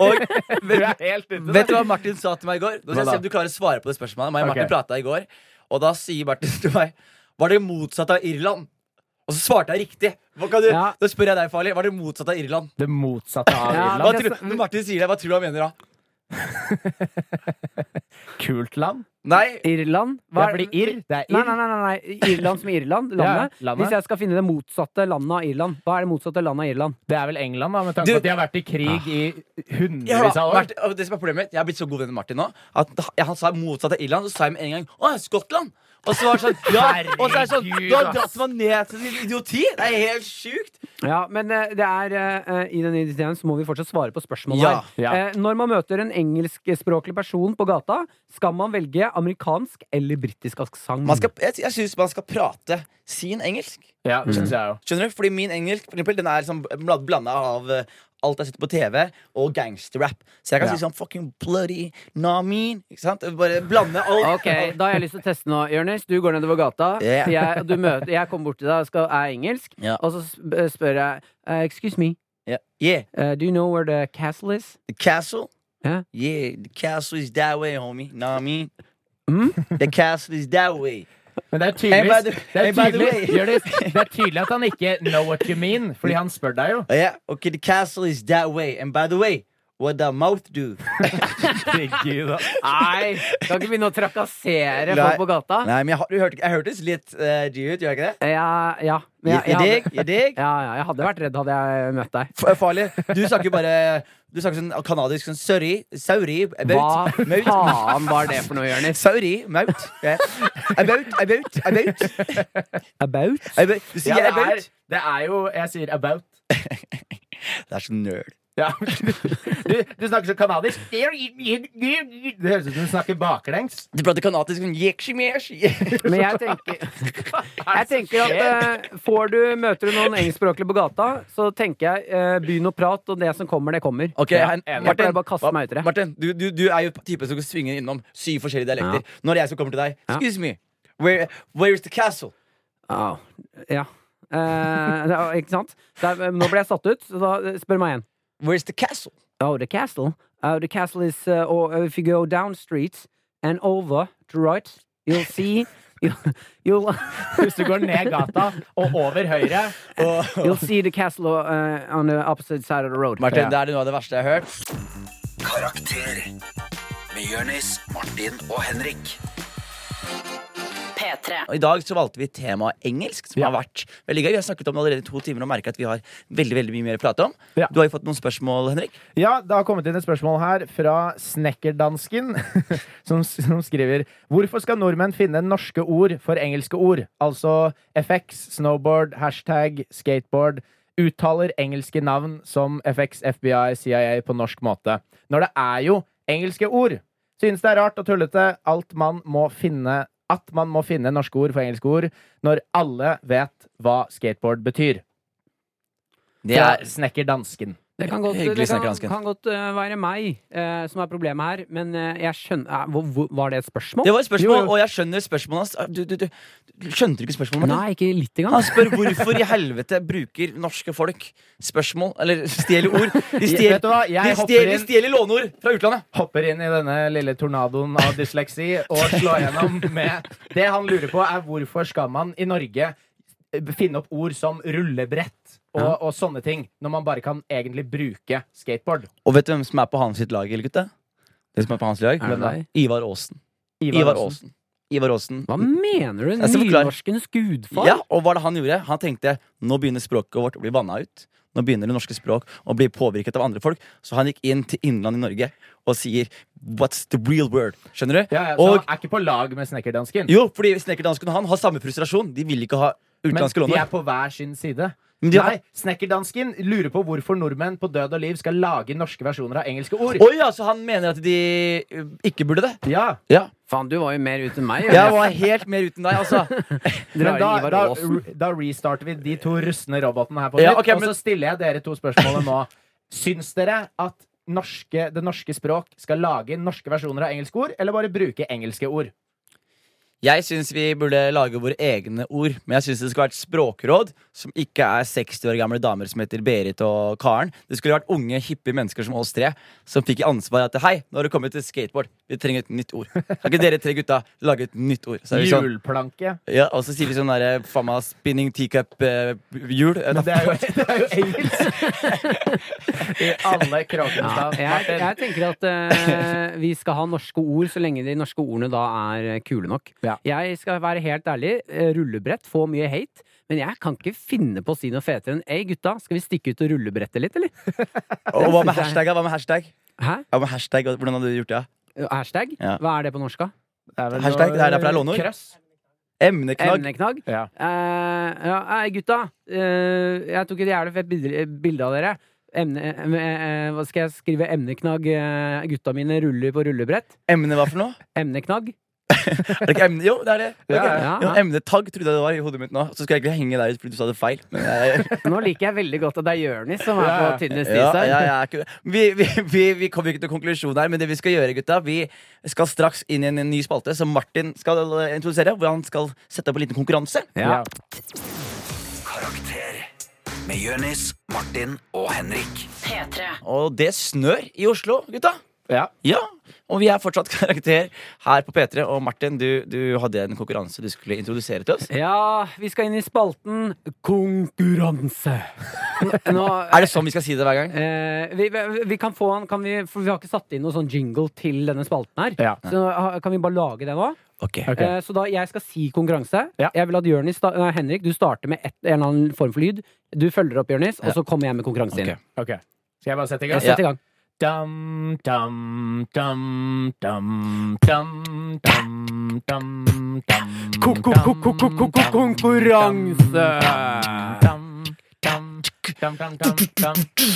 Speaker 4: Og,
Speaker 6: [laughs] Du
Speaker 4: vet,
Speaker 6: er helt ute
Speaker 4: vet du
Speaker 6: der.
Speaker 4: hva Martin sa til meg i går? Nå skal
Speaker 6: Hva
Speaker 4: jeg
Speaker 6: da?
Speaker 4: se om du klarer å svare på det spørsmålet. Meg og Martin
Speaker 6: Ok.
Speaker 4: pratet i går, og da sier Martin til meg Var det motsatt av Irland? Og så svarte jeg riktig. Hva kan du,
Speaker 5: Ja.
Speaker 4: Da spør jeg deg, Farlig. Var det motsatt av Irland?
Speaker 6: Det motsatte av
Speaker 5: Ja,
Speaker 6: Irland.
Speaker 4: Hva
Speaker 5: men jeg
Speaker 4: tror,
Speaker 5: sn-
Speaker 4: når Martin sier det, hva tror du han mener da?
Speaker 6: Kult land.
Speaker 4: Nei,
Speaker 5: Irland?
Speaker 6: Det
Speaker 5: Hva
Speaker 6: er
Speaker 5: er-
Speaker 6: fordi irr, det er
Speaker 5: Nei,
Speaker 6: irr.
Speaker 5: nei, nei, nei, nei. Irland som i Irland. Landet.
Speaker 6: Ja, landet.
Speaker 5: Hvis jeg skal finne det motsatte landet av Irland, hva er det motsatte landet av Irland?
Speaker 6: Det er vel England, da, med tanke
Speaker 4: Du-
Speaker 6: på at de har vært i krig i
Speaker 4: jeg, har-
Speaker 6: hundrevis av år.
Speaker 4: Martin, og det som er problemet mitt, jeg har blitt så god venn med Martin nå at da- han sa motsatt av Irland, så sa jeg med en gang Å, Skottland! Og så var det sånn, ja, og så er det sånn Du har
Speaker 6: Herregud,
Speaker 4: dratt meg ned til din idioti! Det er helt sjukt!
Speaker 5: Ja, men eh, det er eh, eh, i den ideen så må vi fortsatt svare på spørsmålet
Speaker 4: Ja,
Speaker 5: her.
Speaker 6: ja.
Speaker 5: Eh, når man møter en engelskspråklig person på gata, skal man velge amerikansk eller britisk aksent?
Speaker 4: Man skal, jeg jeg syns man skal prate sin engelsk.
Speaker 6: Ja, det synes jeg jo.
Speaker 4: Skjønner du? Fordi min engelsk for eksempel, den er liksom blanda av eh, alt jeg sitter på TV, og gangsterrap. Så jeg kan
Speaker 6: Ja.
Speaker 4: si sånn fucking bloody namin. Ikke sant? Bare blande alt. [laughs]
Speaker 5: Ok, Da har jeg lyst til å teste nå, Jonis. Du går nedover gata.
Speaker 4: Yeah.
Speaker 5: Jeg, du møter, jeg kommer bort til deg og skal, er engelsk,
Speaker 4: Ja.
Speaker 5: og så sp- spør jeg eh, Excuse me,
Speaker 4: Yeah. yeah.
Speaker 5: eh, do you know where the castle is?
Speaker 4: The castle.
Speaker 5: Ja.
Speaker 4: Yeah, the castle is that way, homie. Namin.
Speaker 5: Mm?
Speaker 4: The castle is that way.
Speaker 6: Men det er
Speaker 4: Hey, by the-
Speaker 6: tydelig, det
Speaker 4: hey,
Speaker 6: er
Speaker 4: by the
Speaker 6: tydelig,
Speaker 4: way.
Speaker 6: Jonis, det er tydelig at han ikke know what you mean, fordi han spør deg jo.
Speaker 4: Oh, yeah, okay, the castle is that way. And by the way, what the mouth do?
Speaker 5: Nei! Kan ikke begynne å trakassere
Speaker 4: Nei.
Speaker 5: folk på gata.
Speaker 4: Nei, men jeg, har- du hørte, jeg hørtes litt uh, G ut, gjør jeg ikke det?
Speaker 5: Ja, ja. Men
Speaker 4: Jeg,
Speaker 5: jeg- jeg hadde-
Speaker 4: dig, jeg dig.
Speaker 5: Ja, ja, jeg hadde vært redd hadde jeg møtt deg.
Speaker 4: F- eh, Farlig. Du snakker jo bare Du snakker sånn kanadisk sånn Sorry, sorry
Speaker 5: Hva
Speaker 4: about, about. [laughs]
Speaker 5: faen var det for noe, Jonis?
Speaker 4: Sorry, maut. Eh, Yeah. About, about, about.
Speaker 5: About?
Speaker 4: about. Eh, Du sier
Speaker 6: Ja, det, er,
Speaker 4: about.
Speaker 6: det er jo Jeg sier about.
Speaker 4: Det er så nerd.
Speaker 6: Ja. [laughs] Du, du snakker så kanadisk. Det høres ut som du snakker baklengs.
Speaker 4: Du prater kanadisk sånn yekshimesh.
Speaker 5: Men jeg tenker, jeg tenker at eh, får du, møter du noen engelskspråklige på gata, så tenker jeg eh, begynn å prate, og det som kommer, det kommer.
Speaker 4: [laughs] Ok,
Speaker 5: ja.
Speaker 4: han-
Speaker 5: Jeg
Speaker 4: Martin,
Speaker 5: pleier bare å kaste meg ut i det.
Speaker 4: Martin du, du, du er jo typen som kan svinge innom syv forskjellige dialekter. Når jeg så kommer til deg
Speaker 5: Ja.
Speaker 4: Excuse me, where, where is the castle?
Speaker 5: Au. Ja. Eh, det er- ikke sant? Det er- nå ble jeg satt ut, så da eh, spør meg igjen.
Speaker 4: Where is the castle?
Speaker 5: Oh, the castle? Oh, the castle is uh, or if you go down street and over to right, you'll see [laughs] you'll, you'll,
Speaker 6: Hvis du går ned gata og over høyre
Speaker 5: you'll see the castle uh, on the opposite side of the road.
Speaker 4: Martin,
Speaker 6: Ja.
Speaker 4: Det er noe av det verste jeg har hørt.
Speaker 3: Karakter med Jørnis, Martin og Henrik.
Speaker 7: P3.
Speaker 4: Og I dag så valgte vi temaet engelsk, som
Speaker 6: Ja.
Speaker 4: har vært veldig gøy. Vi har snakket om det allerede i to timer og merket at vi har veldig veldig mye mer å prate om.
Speaker 6: Ja.
Speaker 4: Du har jo fått noen spørsmål, Henrik.
Speaker 6: Ja, det har kommet inn et spørsmål her fra Snekkerdansken, [laughs] som, som skriver Hvorfor skal nordmenn finne norske ord for engelske ord? Altså FX, snowboard, hashtag, skateboard. Uttaler engelske navn som FX, FBI, CIA på norsk måte. Når det er jo engelske ord! Synes det er rart og tullete alt man må finne at man må finne norske ord for engelske ord når alle vet hva skateboard betyr.
Speaker 4: Det
Speaker 6: Det
Speaker 4: er
Speaker 6: er snekkerdansken.
Speaker 5: Det kan godt,
Speaker 4: Hyggelig
Speaker 5: det
Speaker 4: snakker,
Speaker 5: kan,
Speaker 4: Hansken.
Speaker 5: kan godt eh, være meg eh, som er problemet her, men eh, jeg skjønner eh, hvor, hvor, Var det et spørsmål?
Speaker 4: Det var et spørsmål,
Speaker 6: Jo, jo.
Speaker 4: og jeg skjønner spørsmålet hans. Du, du, du, du skjønte ikke spørsmålet, Martin?
Speaker 5: Nei, ikke litt engang.
Speaker 4: Han spør hvorfor i helvete bruker norske folk spørsmål Eller stjeler ord. De stjeler,
Speaker 6: Vet du hva? Jeg
Speaker 4: de
Speaker 6: hopper
Speaker 4: stjeler, de
Speaker 6: inn.
Speaker 4: stjeler låneord fra utlandet.
Speaker 6: hopper inn i denne lille tornadoen av dysleksi og slår gjennom med Det han lurer på, er hvorfor skal man i Norge eh, finne opp ord som rullebrett og,
Speaker 5: Ja.
Speaker 6: og sånne ting, når man bare kan egentlig bruke skateboard?
Speaker 4: Og vet du hvem som er på hans sitt lag? eller gutta? Det som er på hans lag?
Speaker 5: Er det deg?
Speaker 4: Ivar Aasen. Ivar Aasen. Ivar Aasen.
Speaker 5: Hva mener du?
Speaker 4: Jeg skal forklare.
Speaker 5: Nynorskens gudfar?
Speaker 4: Ja, og hva er det han gjorde? Han tenkte nå begynner språket vårt å bli vanna ut. Nå begynner det norske språk å bli påvirket av andre folk. Så han gikk inn til innlandet i Norge og sier What's the real word? Skjønner du?
Speaker 6: Ja, ja, så
Speaker 4: Og-
Speaker 6: han er ikke på lag med snekkerdansken.
Speaker 4: Jo, fordi snekkerdanskene og han har samme frustrasjon. De vil ikke ha
Speaker 6: Men
Speaker 4: utenlandske
Speaker 6: de er
Speaker 4: låner.
Speaker 6: på hver sin side.
Speaker 4: Men de har-
Speaker 6: Nei, Snekkerdansken lurer på hvorfor nordmenn på død og liv skal lage norske versjoner av engelske ord.
Speaker 4: Oi, ja, så han mener at de eh, ikke burde det?
Speaker 6: Ja,
Speaker 4: Ja.
Speaker 5: Faen, du var jo mer ute enn meg.
Speaker 4: Jeg var helt mer uten deg, altså.
Speaker 6: men [laughs]
Speaker 5: Drar
Speaker 6: da,
Speaker 5: Ivar
Speaker 6: da,
Speaker 5: Aasen.
Speaker 6: da restarter vi de to rustne robotene her på nytt.
Speaker 4: Ja, ok, men-
Speaker 6: Og så stiller jeg dere to spørsmålet nå. Syns dere at norske, det norske språk skal lage norske versjoner av engelske ord, eller bare bruke engelske ord?
Speaker 4: Jeg syns vi burde lage våre egne ord, men jeg syns det skulle vært språkråd som ikke er 60 år gamle damer som heter Berit og Karen. Det skulle vært unge, hippie mennesker som oss tre, som fikk i ansvar at hei, nå har det kommet til skateboard, vi trenger et nytt ord. Kan ikke dere tre gutta lage et nytt ord? Så er vi sånn,
Speaker 6: Hjulplanke. [laughs]
Speaker 4: ja, og så sier vi sånn derre faen meg spinning eh, teacup-hjul.
Speaker 6: Men det er jo, det er jo engelsk! [laughs] I alle
Speaker 5: Ja,
Speaker 6: Kråkenstad.
Speaker 5: jeg,
Speaker 6: Martin.
Speaker 5: jeg tenker at eh, vi skal ha norske ord så lenge de norske ordene da er eh, kule nok.
Speaker 6: Ja.
Speaker 5: Jeg skal være helt ærlig. eh, Rullebrett får mye hate. Men jeg kan ikke finne på å si noe fetere enn Ei, gutta, skal vi stikke ut og rullebrette litt, eller?
Speaker 4: Og hva med hashtag? da? Hva med hashtag?
Speaker 5: Hæ?
Speaker 4: Ja, med hashtag, Hvordan hadde du gjort det? da?
Speaker 5: Hashtag?
Speaker 4: Ja.
Speaker 5: Hva er det på norsk, da?
Speaker 6: Det vel
Speaker 4: Hashtag, det er derfor det er
Speaker 6: noe-
Speaker 4: låneord.
Speaker 6: Krøss.
Speaker 4: Emneknagg.
Speaker 5: Emneknagg?
Speaker 6: Ja.
Speaker 5: Eh, ja, ei, gutta. eh, jeg tok et jævlig fett bilde, eh, bilde av dere. Emne, em- eh, eh, hva skal jeg skrive? Emneknagg. eh, gutta mine ruller på rullebrett.
Speaker 4: Emne hva for noe?
Speaker 5: Emneknagg.
Speaker 4: Er det ikke emne? Jo, det er det. det, er
Speaker 6: Ja,
Speaker 4: ikke-
Speaker 5: ja,
Speaker 4: Jo,
Speaker 5: ja.
Speaker 4: emnetagg trodde jeg det var i hodet mitt nå. Så skulle jeg egentlig henge deg ut fordi du sa det feil. Men jeg,
Speaker 5: Nå liker jeg veldig godt at det er Jonis som er
Speaker 6: Ja, ja.
Speaker 5: på tynn is
Speaker 4: ja,
Speaker 5: her.
Speaker 4: jeg, jeg er ikke, vi, vi, vi, vi kommer ikke til konklusjon her, men det vi skal gjøre, gutta Vi skal straks inn i en ny spalte som Martin skal eh, introdusere. Hvor han skal sette opp en liten konkurranse.
Speaker 5: Ja.
Speaker 3: Karakter med Jonis, Martin og Henrik.
Speaker 4: Og det snør i Oslo, gutta.
Speaker 6: Ja.
Speaker 4: Ja, Og vi er fortsatt [laughs] karakter her på P3. Og Martin, du, du hadde en konkurranse du skulle introdusere til oss.
Speaker 5: Ja, vi skal inn i spalten konkurranse. Nå,
Speaker 4: Er det sånn vi skal si det hver gang?
Speaker 5: eh, vi, vi- vi kan få han, kan vi, for vi har ikke satt inn noen sånn jingle til denne spalten her.
Speaker 6: Ja.
Speaker 5: Så ha- kan vi bare lage det nå?
Speaker 4: Ok
Speaker 6: Ok.
Speaker 5: Eh, så da, jeg skal si konkurranse.
Speaker 6: Ja.
Speaker 5: Jeg vil at Jørnis, sta- nei, Henrik, du starter med et, en eller annen form for lyd. Du følger opp, Jørnis, og så kommer jeg med konkurranse inn.
Speaker 4: Ok.
Speaker 6: Ok. Skal jeg bare sette i gang?
Speaker 5: Jeg setter i gang.
Speaker 6: Dum, dum, dum, dum, dum, dum, dum, dum, Dum, dum, dum, dum, dum, dum.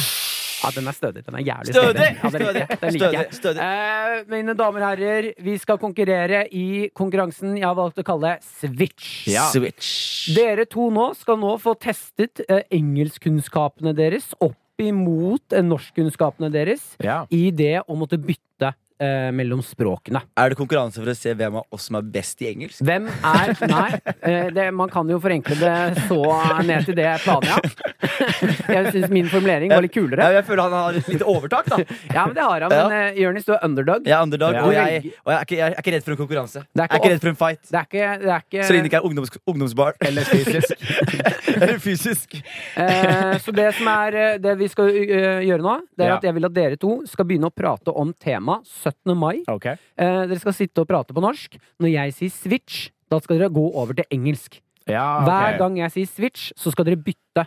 Speaker 5: Ja, den er stødig. Den er jævlig
Speaker 4: Stødig!
Speaker 5: Ja, den liker jeg. Den liker jeg.
Speaker 4: Stødig, stødig.
Speaker 5: Eh, mine damer og herrer, vi skal konkurrere i konkurransen jeg har valgt å kalle Switch.
Speaker 4: Switch.
Speaker 5: Dere to nå skal nå få testet eh, engelskkunnskapene deres opp imot eh, norskkunnskapene deres
Speaker 6: Ja.
Speaker 5: i det å måtte bytte eh, mellom språkene.
Speaker 4: Er det konkurranse for å se hvem av oss som er best i engelsk?
Speaker 5: Hvem er Nei, eh, det, man kan jo forenkle det så ned til det planet, ja. Jeg syns min formulering var litt kulere.
Speaker 4: Ja, jeg føler han har et lite overtak, da.
Speaker 5: Ja, men det har han. Men eh, Jonis, du er underdog.
Speaker 4: Jeg er underdog,
Speaker 6: Ja.
Speaker 4: og jeg, og jeg, er ikke, jeg er ikke redd for en konkurranse.
Speaker 5: Det er
Speaker 4: Jeg er
Speaker 5: ikke
Speaker 4: ikke redd for en fight.
Speaker 5: Det er ikke, det er ikke
Speaker 4: Så lenge det ikke er ungdoms, ungdomsbar.
Speaker 6: Eller fysisk.
Speaker 4: [laughs] Eller fysisk.
Speaker 5: Eh, så det som er eh, det vi skal eh, gjøre nå, det er
Speaker 6: Ja.
Speaker 5: at jeg vil at dere to skal begynne å prate om tema 17. mai.
Speaker 6: Ok.
Speaker 5: Eh, dere skal sitte og prate på norsk. Når jeg sier switch, da skal dere gå over til engelsk.
Speaker 6: Ja,
Speaker 5: Hver gang jeg sier switch, så skal dere bytte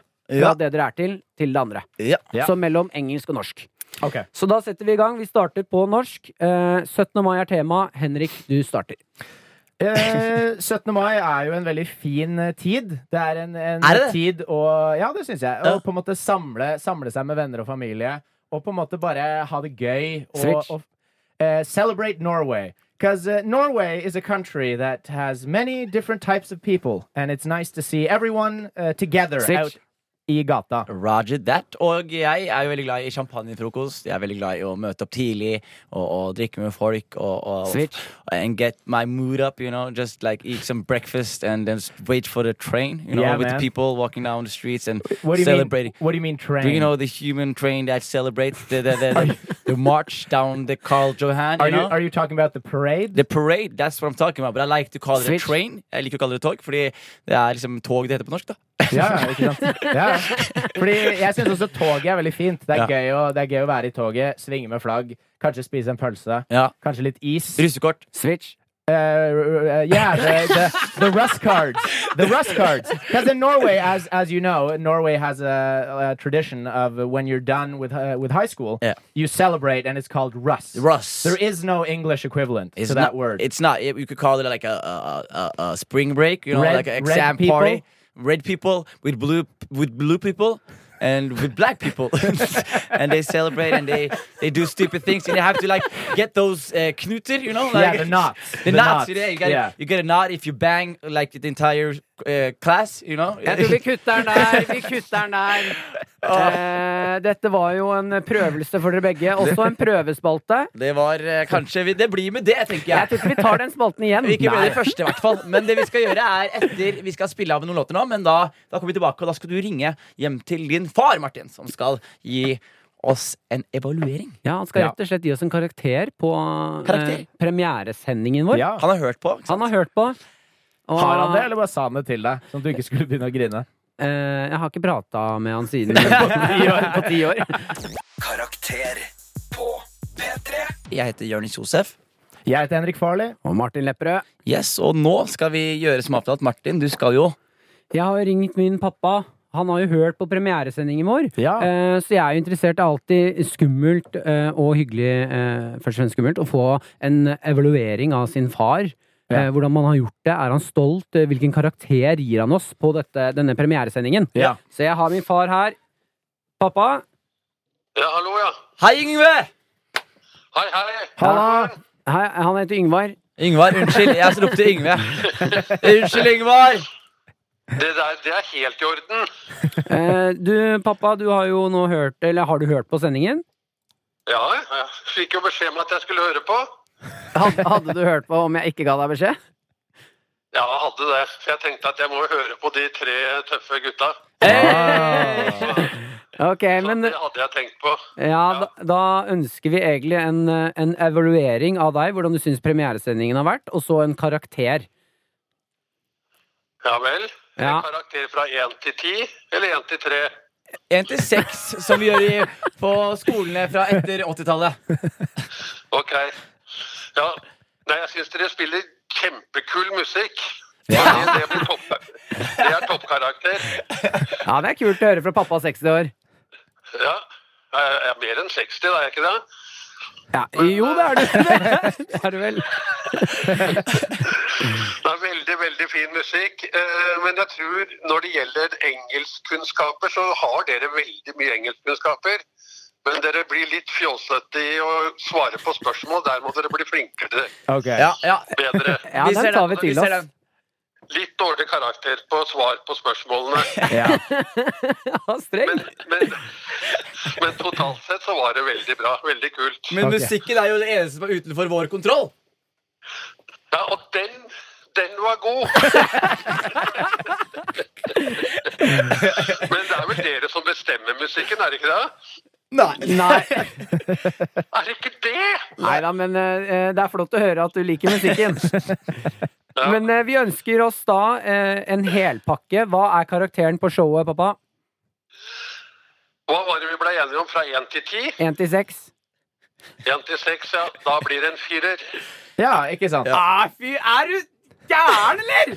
Speaker 4: Ja.
Speaker 5: fra det dere er til, til det andre.
Speaker 4: Ja.
Speaker 6: Ja.
Speaker 5: Så mellom engelsk og norsk.
Speaker 6: Ok.
Speaker 5: Så da setter vi i gang. Vi starter på norsk. Eh, 17. mai er tema. Henrik, du starter.
Speaker 6: Eh, 17. mai er jo en veldig fin eh, tid. Det er en, en
Speaker 4: Er det det?
Speaker 6: tid å Ja, det syns jeg. Å
Speaker 4: Ja.
Speaker 6: på en måte samle, samle seg med venner og familie. Og på en måte bare ha det gøy. Og,
Speaker 5: Switch.
Speaker 6: og eh, celebrate Norway. Because Norway is a country that has many different types of people. And it's nice to see everyone eh, together
Speaker 5: Switch.
Speaker 6: out i gata.
Speaker 4: Roger that. Og jeg er jo veldig glad i champagnefrokost. Jeg er veldig glad i å møte opp tidlig og, og drikke med folk. Og, og,
Speaker 5: Switch.
Speaker 4: And get my mood up, you know. Just like eat some breakfast and then s- wait for the train. You know,
Speaker 6: Yeah,
Speaker 4: with
Speaker 6: man.
Speaker 4: the people walking down the streets and
Speaker 6: What do you
Speaker 4: celebrating.
Speaker 6: mean? What do you mean train?
Speaker 4: Do you know the human train that celebrates the, the, the, [laughs] the march down the Carl Johan?
Speaker 6: are,
Speaker 4: you
Speaker 6: you,
Speaker 4: know?
Speaker 6: are you talking about the parade?
Speaker 4: The parade, that's what I'm talking about. But I like to call it
Speaker 5: Switch.
Speaker 4: a train. Jeg liker å kalle det tog, fordi det er liksom tog det heter på norsk, da.
Speaker 6: Ja, ja, ikke sant? Ja. ja. Fordi jeg syns også toget er veldig fint. Det er,
Speaker 4: Ja.
Speaker 6: gøy å, det er gøy å være i toget, svinge med flagg, kanskje spise en pølse,
Speaker 4: Ja.
Speaker 6: kanskje litt is.
Speaker 4: Russekort.
Speaker 5: Switch.
Speaker 6: uh, yeah, the, the, the Rust cards. The Rust cards. Because in Norway, as as you know, Norway has a, a tradition of uh, when you're done with uh, with high school,
Speaker 4: Yeah.
Speaker 6: you celebrate, and it's called Rust.
Speaker 4: Russ.
Speaker 6: There is no English equivalent
Speaker 4: It's
Speaker 6: to that
Speaker 4: not-
Speaker 6: word.
Speaker 4: It's not. You could call it like a a, a, a spring break. You know,
Speaker 6: Red-
Speaker 4: like an
Speaker 6: red
Speaker 4: exam
Speaker 6: people?
Speaker 4: party. Red people with blue with blue people. And with black people, [laughs] and they celebrate and they they do stupid things, and you have to like get those uh, knuter, you know, like
Speaker 6: yeah, the knots.
Speaker 4: [laughs] the, knots. Yeah, you get
Speaker 6: yeah.
Speaker 4: you get a knot if you bang like the entire uh, class, you know.
Speaker 5: Jeg tror vi kutter den der. Vi kutter den der. Eh, dette var jo en prøvelse for dere begge. Også en prøvespalte.
Speaker 4: [laughs] Det var eh, kanskje vi, Det blir med det, tenker
Speaker 5: Jeg
Speaker 4: jeg.
Speaker 5: tror ikke vi tar den spalten igjen.
Speaker 4: Vi er Ikke med
Speaker 5: Nei.
Speaker 4: det første, i hvert fall. Men det vi skal gjøre er etter Vi skal spille av noen låter nå, men da, da kommer vi tilbake, og da skal du ringe hjem til din far, Martin, som skal gi oss en evaluering.
Speaker 5: Ja, Han skal
Speaker 6: Ja.
Speaker 5: rett og slett gi oss en karakter på eh,
Speaker 4: Karakter?
Speaker 5: premieresendingen vår.
Speaker 6: Ja.
Speaker 4: Han har hørt på. ikke sant?
Speaker 5: Han har hørt på. og-
Speaker 6: Har han det, eller bare sa han det til deg? Sånn at du ikke skulle begynne å grine.
Speaker 5: Eh, jeg har ikke prata med han
Speaker 6: [laughs]
Speaker 5: siden på ti år.
Speaker 3: Karakter på P3.
Speaker 4: Jeg heter Jonis Josef.
Speaker 6: Jeg heter Henrik Farley.
Speaker 5: Og Martin Lepperød.
Speaker 4: Yes, Og nå skal vi gjøre som avtalt. Martin, du skal jo
Speaker 5: Jeg har ringt min pappa. Han har jo hørt på premieresendingen vår.
Speaker 6: Ja.
Speaker 5: Eh, så jeg er jo interessert. Det er alltid skummelt eh, og hyggelig, eh, først og fremst skummelt, å få en evaluering av sin far.
Speaker 6: Ja.
Speaker 5: Eh, hvordan man har gjort det. Er han stolt? Eh, Hvilken karakter gir han oss på dette, denne premieresendingen?
Speaker 6: Ja.
Speaker 5: Så jeg har min far her. Pappa,
Speaker 12: Ja, hallo, ja.
Speaker 4: Hei, Yngve!
Speaker 12: Hei, hei.
Speaker 6: Halla!
Speaker 5: hei, han heter Yngvar.
Speaker 4: Yngvar, unnskyld. Jeg ropte Yngve. Unnskyld, Yngvar.
Speaker 12: Det der det er helt i orden.
Speaker 5: Eh, du, pappa, du har jo nå hørt Eller har du hørt på sendingen?
Speaker 12: Ja, jeg fikk jo beskjed om at jeg skulle høre på.
Speaker 5: Hadde, hadde du hørt på om jeg ikke ga deg beskjed?
Speaker 12: Ja, jeg hadde det. For jeg tenkte at jeg må jo høre på de tre tøffe gutta. Så,
Speaker 5: Ok,
Speaker 12: så
Speaker 5: men
Speaker 12: det hadde jeg tenkt på.
Speaker 5: Ja, da, da ønsker vi egentlig en, eh, en evaluering av deg, hvordan du syns premieresendingen har vært, og så en karakter.
Speaker 12: Ja vel.
Speaker 5: Ja.
Speaker 12: En karakter fra én til ti, eller én til tre?
Speaker 4: Én til seks, som vi gjør i, på skolene fra etter 80-tallet.
Speaker 12: Ok. Ja. Nei, jeg syns dere spiller kjempekul musikk. Det, det, blir topp, det er toppkarakter.
Speaker 5: Ja, det er kult å høre fra pappa 60 år.
Speaker 12: Ja. Jeg er mer enn 60, da, er jeg ikke det?
Speaker 5: Ja, jo, det er du. Det er du vel.
Speaker 12: Det er veldig, veldig fin musikk. eh, Men jeg tror når det gjelder engelskkunnskaper, så har dere veldig mye engelskkunnskaper. Men dere blir litt fjollete i å svare på spørsmål. Der må dere bli flinkere.
Speaker 6: Ok.
Speaker 4: Ja, ja.
Speaker 12: Bedre.
Speaker 5: Ja,
Speaker 4: Vi ser
Speaker 5: den tar vi
Speaker 4: den,
Speaker 5: til
Speaker 4: vi ser
Speaker 5: oss.
Speaker 4: den.
Speaker 12: Litt dårlig karakter på svar på spørsmålene.
Speaker 6: Ja.
Speaker 5: Ja, streng.
Speaker 12: Men, men, men totalt sett så var det veldig bra. Veldig kult.
Speaker 4: Men
Speaker 6: Ok.
Speaker 4: musikken er jo det eneste som er utenfor vår kontroll.
Speaker 12: Ja, og den, den var god! Men det er vel dere som bestemmer musikken, er det ikke det?
Speaker 5: [laughs] Nei,
Speaker 12: Er det ikke det?
Speaker 5: nei da, men eh, det er flott å høre at du liker musikken. Men eh, vi ønsker oss da eh, en helpakke. Hva er karakteren på showet, pappa?
Speaker 12: Hva var det vi ble enige om fra 1 til 10?
Speaker 5: 1 til 6?
Speaker 12: 1 til 6, ja. Da blir det en firer.
Speaker 6: ja, ikke sant?
Speaker 4: Ah, fy, er du gæren, eller?!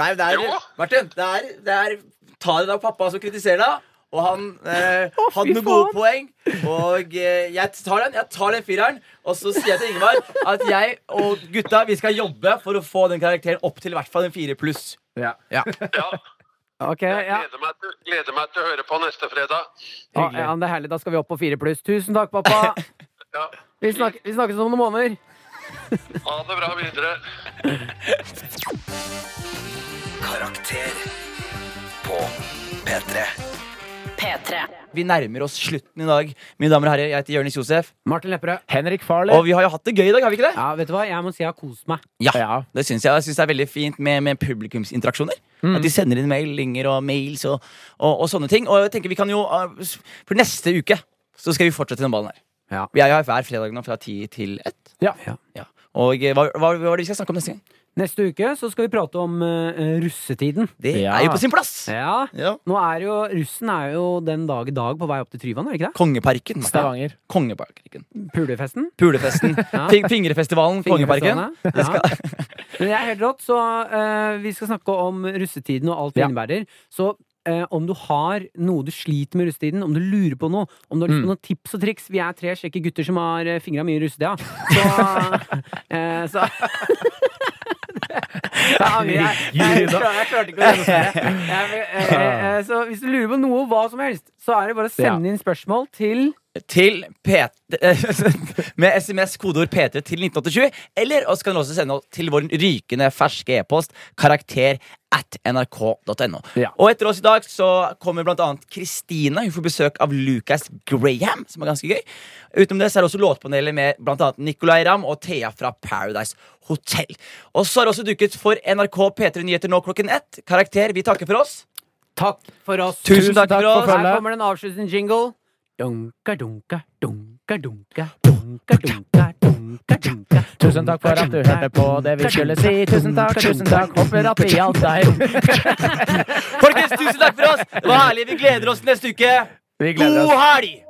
Speaker 4: Nei, det er
Speaker 12: Jo.
Speaker 4: Martin, det er, det er Ta det av pappa som kritiserer deg. Og han eh, hadde noen
Speaker 5: faen.
Speaker 4: gode poeng. Og eh, jeg tar den jeg tar den fireren. Og så sier jeg til Ingemar at jeg og gutta vi skal jobbe for å få den karakteren opp til i hvert fall en fire pluss.
Speaker 6: Ja.
Speaker 12: Ja.
Speaker 5: Ok,
Speaker 12: Jeg
Speaker 5: ja.
Speaker 12: gleder meg, til, gleder meg til å høre på neste fredag.
Speaker 5: Ja, ja, det er herlig. Da skal vi opp på 4 pluss. Tusen takk, pappa.
Speaker 12: Ja.
Speaker 5: Vi snakkes, vi snakkes om noen måneder.
Speaker 12: Ha det bra videre.
Speaker 3: Karakter på P3.
Speaker 4: Vi nærmer oss slutten i dag. Mine damer og herrer, jeg heter Jonis Josef.
Speaker 5: Martin Lepperød.
Speaker 6: Henrik Farley.
Speaker 4: Og vi har jo hatt det gøy i dag, har vi ikke det?
Speaker 5: Ja, vet du hva? Jeg må si jeg har kost meg.
Speaker 6: Ja.
Speaker 4: Det synes jeg, jeg synes det er veldig fint med, med publikumsinteraksjoner.
Speaker 5: Mm.
Speaker 4: At de sender inn mailinger og mails og, og, og sånne ting. Og jeg tenker vi kan jo uh, s- For neste uke så skal vi fortsette den ballen her.
Speaker 5: Ja.
Speaker 4: Vi er jo her hver fredag nå fra ti til ett.
Speaker 6: Ja.
Speaker 4: Og eh, hva, hva, hva er det vi skal snakke om neste gang?
Speaker 5: Neste uke så skal vi prate om eh, russetiden.
Speaker 4: Det er jo på sin plass.
Speaker 5: Ja. Nå er jo, russen er jo den dag i dag på vei opp til Tryvann, er det ikke det?
Speaker 4: Kongeparken.
Speaker 5: Stavanger.
Speaker 4: Kongeparken.
Speaker 5: Pulefesten.
Speaker 4: Pulefesten.
Speaker 5: [laughs] Ja.
Speaker 4: Fing- Fingrefestivalen, Kongeparken.
Speaker 5: Fingerfestene, Ja. Men det er helt rått, så eh, vi skal snakke om russetiden og alt det
Speaker 4: Ja.
Speaker 5: innebærer. Så eh, om du har noe du sliter med i russetiden, om du lurer på noe, om du har lyst på
Speaker 4: Mm.
Speaker 5: noen tips og triks Vi er tre kjekke gutter som har eh, fingra mye i
Speaker 4: [laughs]
Speaker 5: russetida. Så, eh, så Da angrer jeg. Jeg klarte jeg klarte ikke å
Speaker 4: [laughs]
Speaker 5: gjennomføre. Jeg- eh, eh, eh, Så hvis du lurer på noe, hva som helst, så er det bare å sende inn spørsmål til
Speaker 4: Til P- [laughs] med SMS kodeord P3 til 1987. Eller også kan du også sende oss til vår rykende ferske e-post karakter at nrk.no. Og etter oss i dag så kommer blant annet Kristina. Hun får besøk av Lucas Graham, som er ganske gøy. Utenom det så er det også låtpanelet med blant annet Nicolay Ramm og Thea fra Paradise Hotel. Og så har det også dukket for NRK P3 Nyheter nå klokken ett. Karakter, vi takker for oss.
Speaker 5: Takk for oss.
Speaker 4: Tusen takk for oss.
Speaker 5: Her kommer det en avsluttende jingle. Dunka, dunka, dunka, dunka, dunka, dunka, dunka, dunka.
Speaker 6: Tusen takk for at du hørte på det vi skulle si. Tusen takk, tusen takk. Håper at det hjalp deg.
Speaker 5: [laughs]
Speaker 4: Folkens, tusen takk for oss. Det var herlig. Vi gleder oss til neste uke.
Speaker 6: Vi gleder
Speaker 4: God
Speaker 6: oss.
Speaker 4: helg!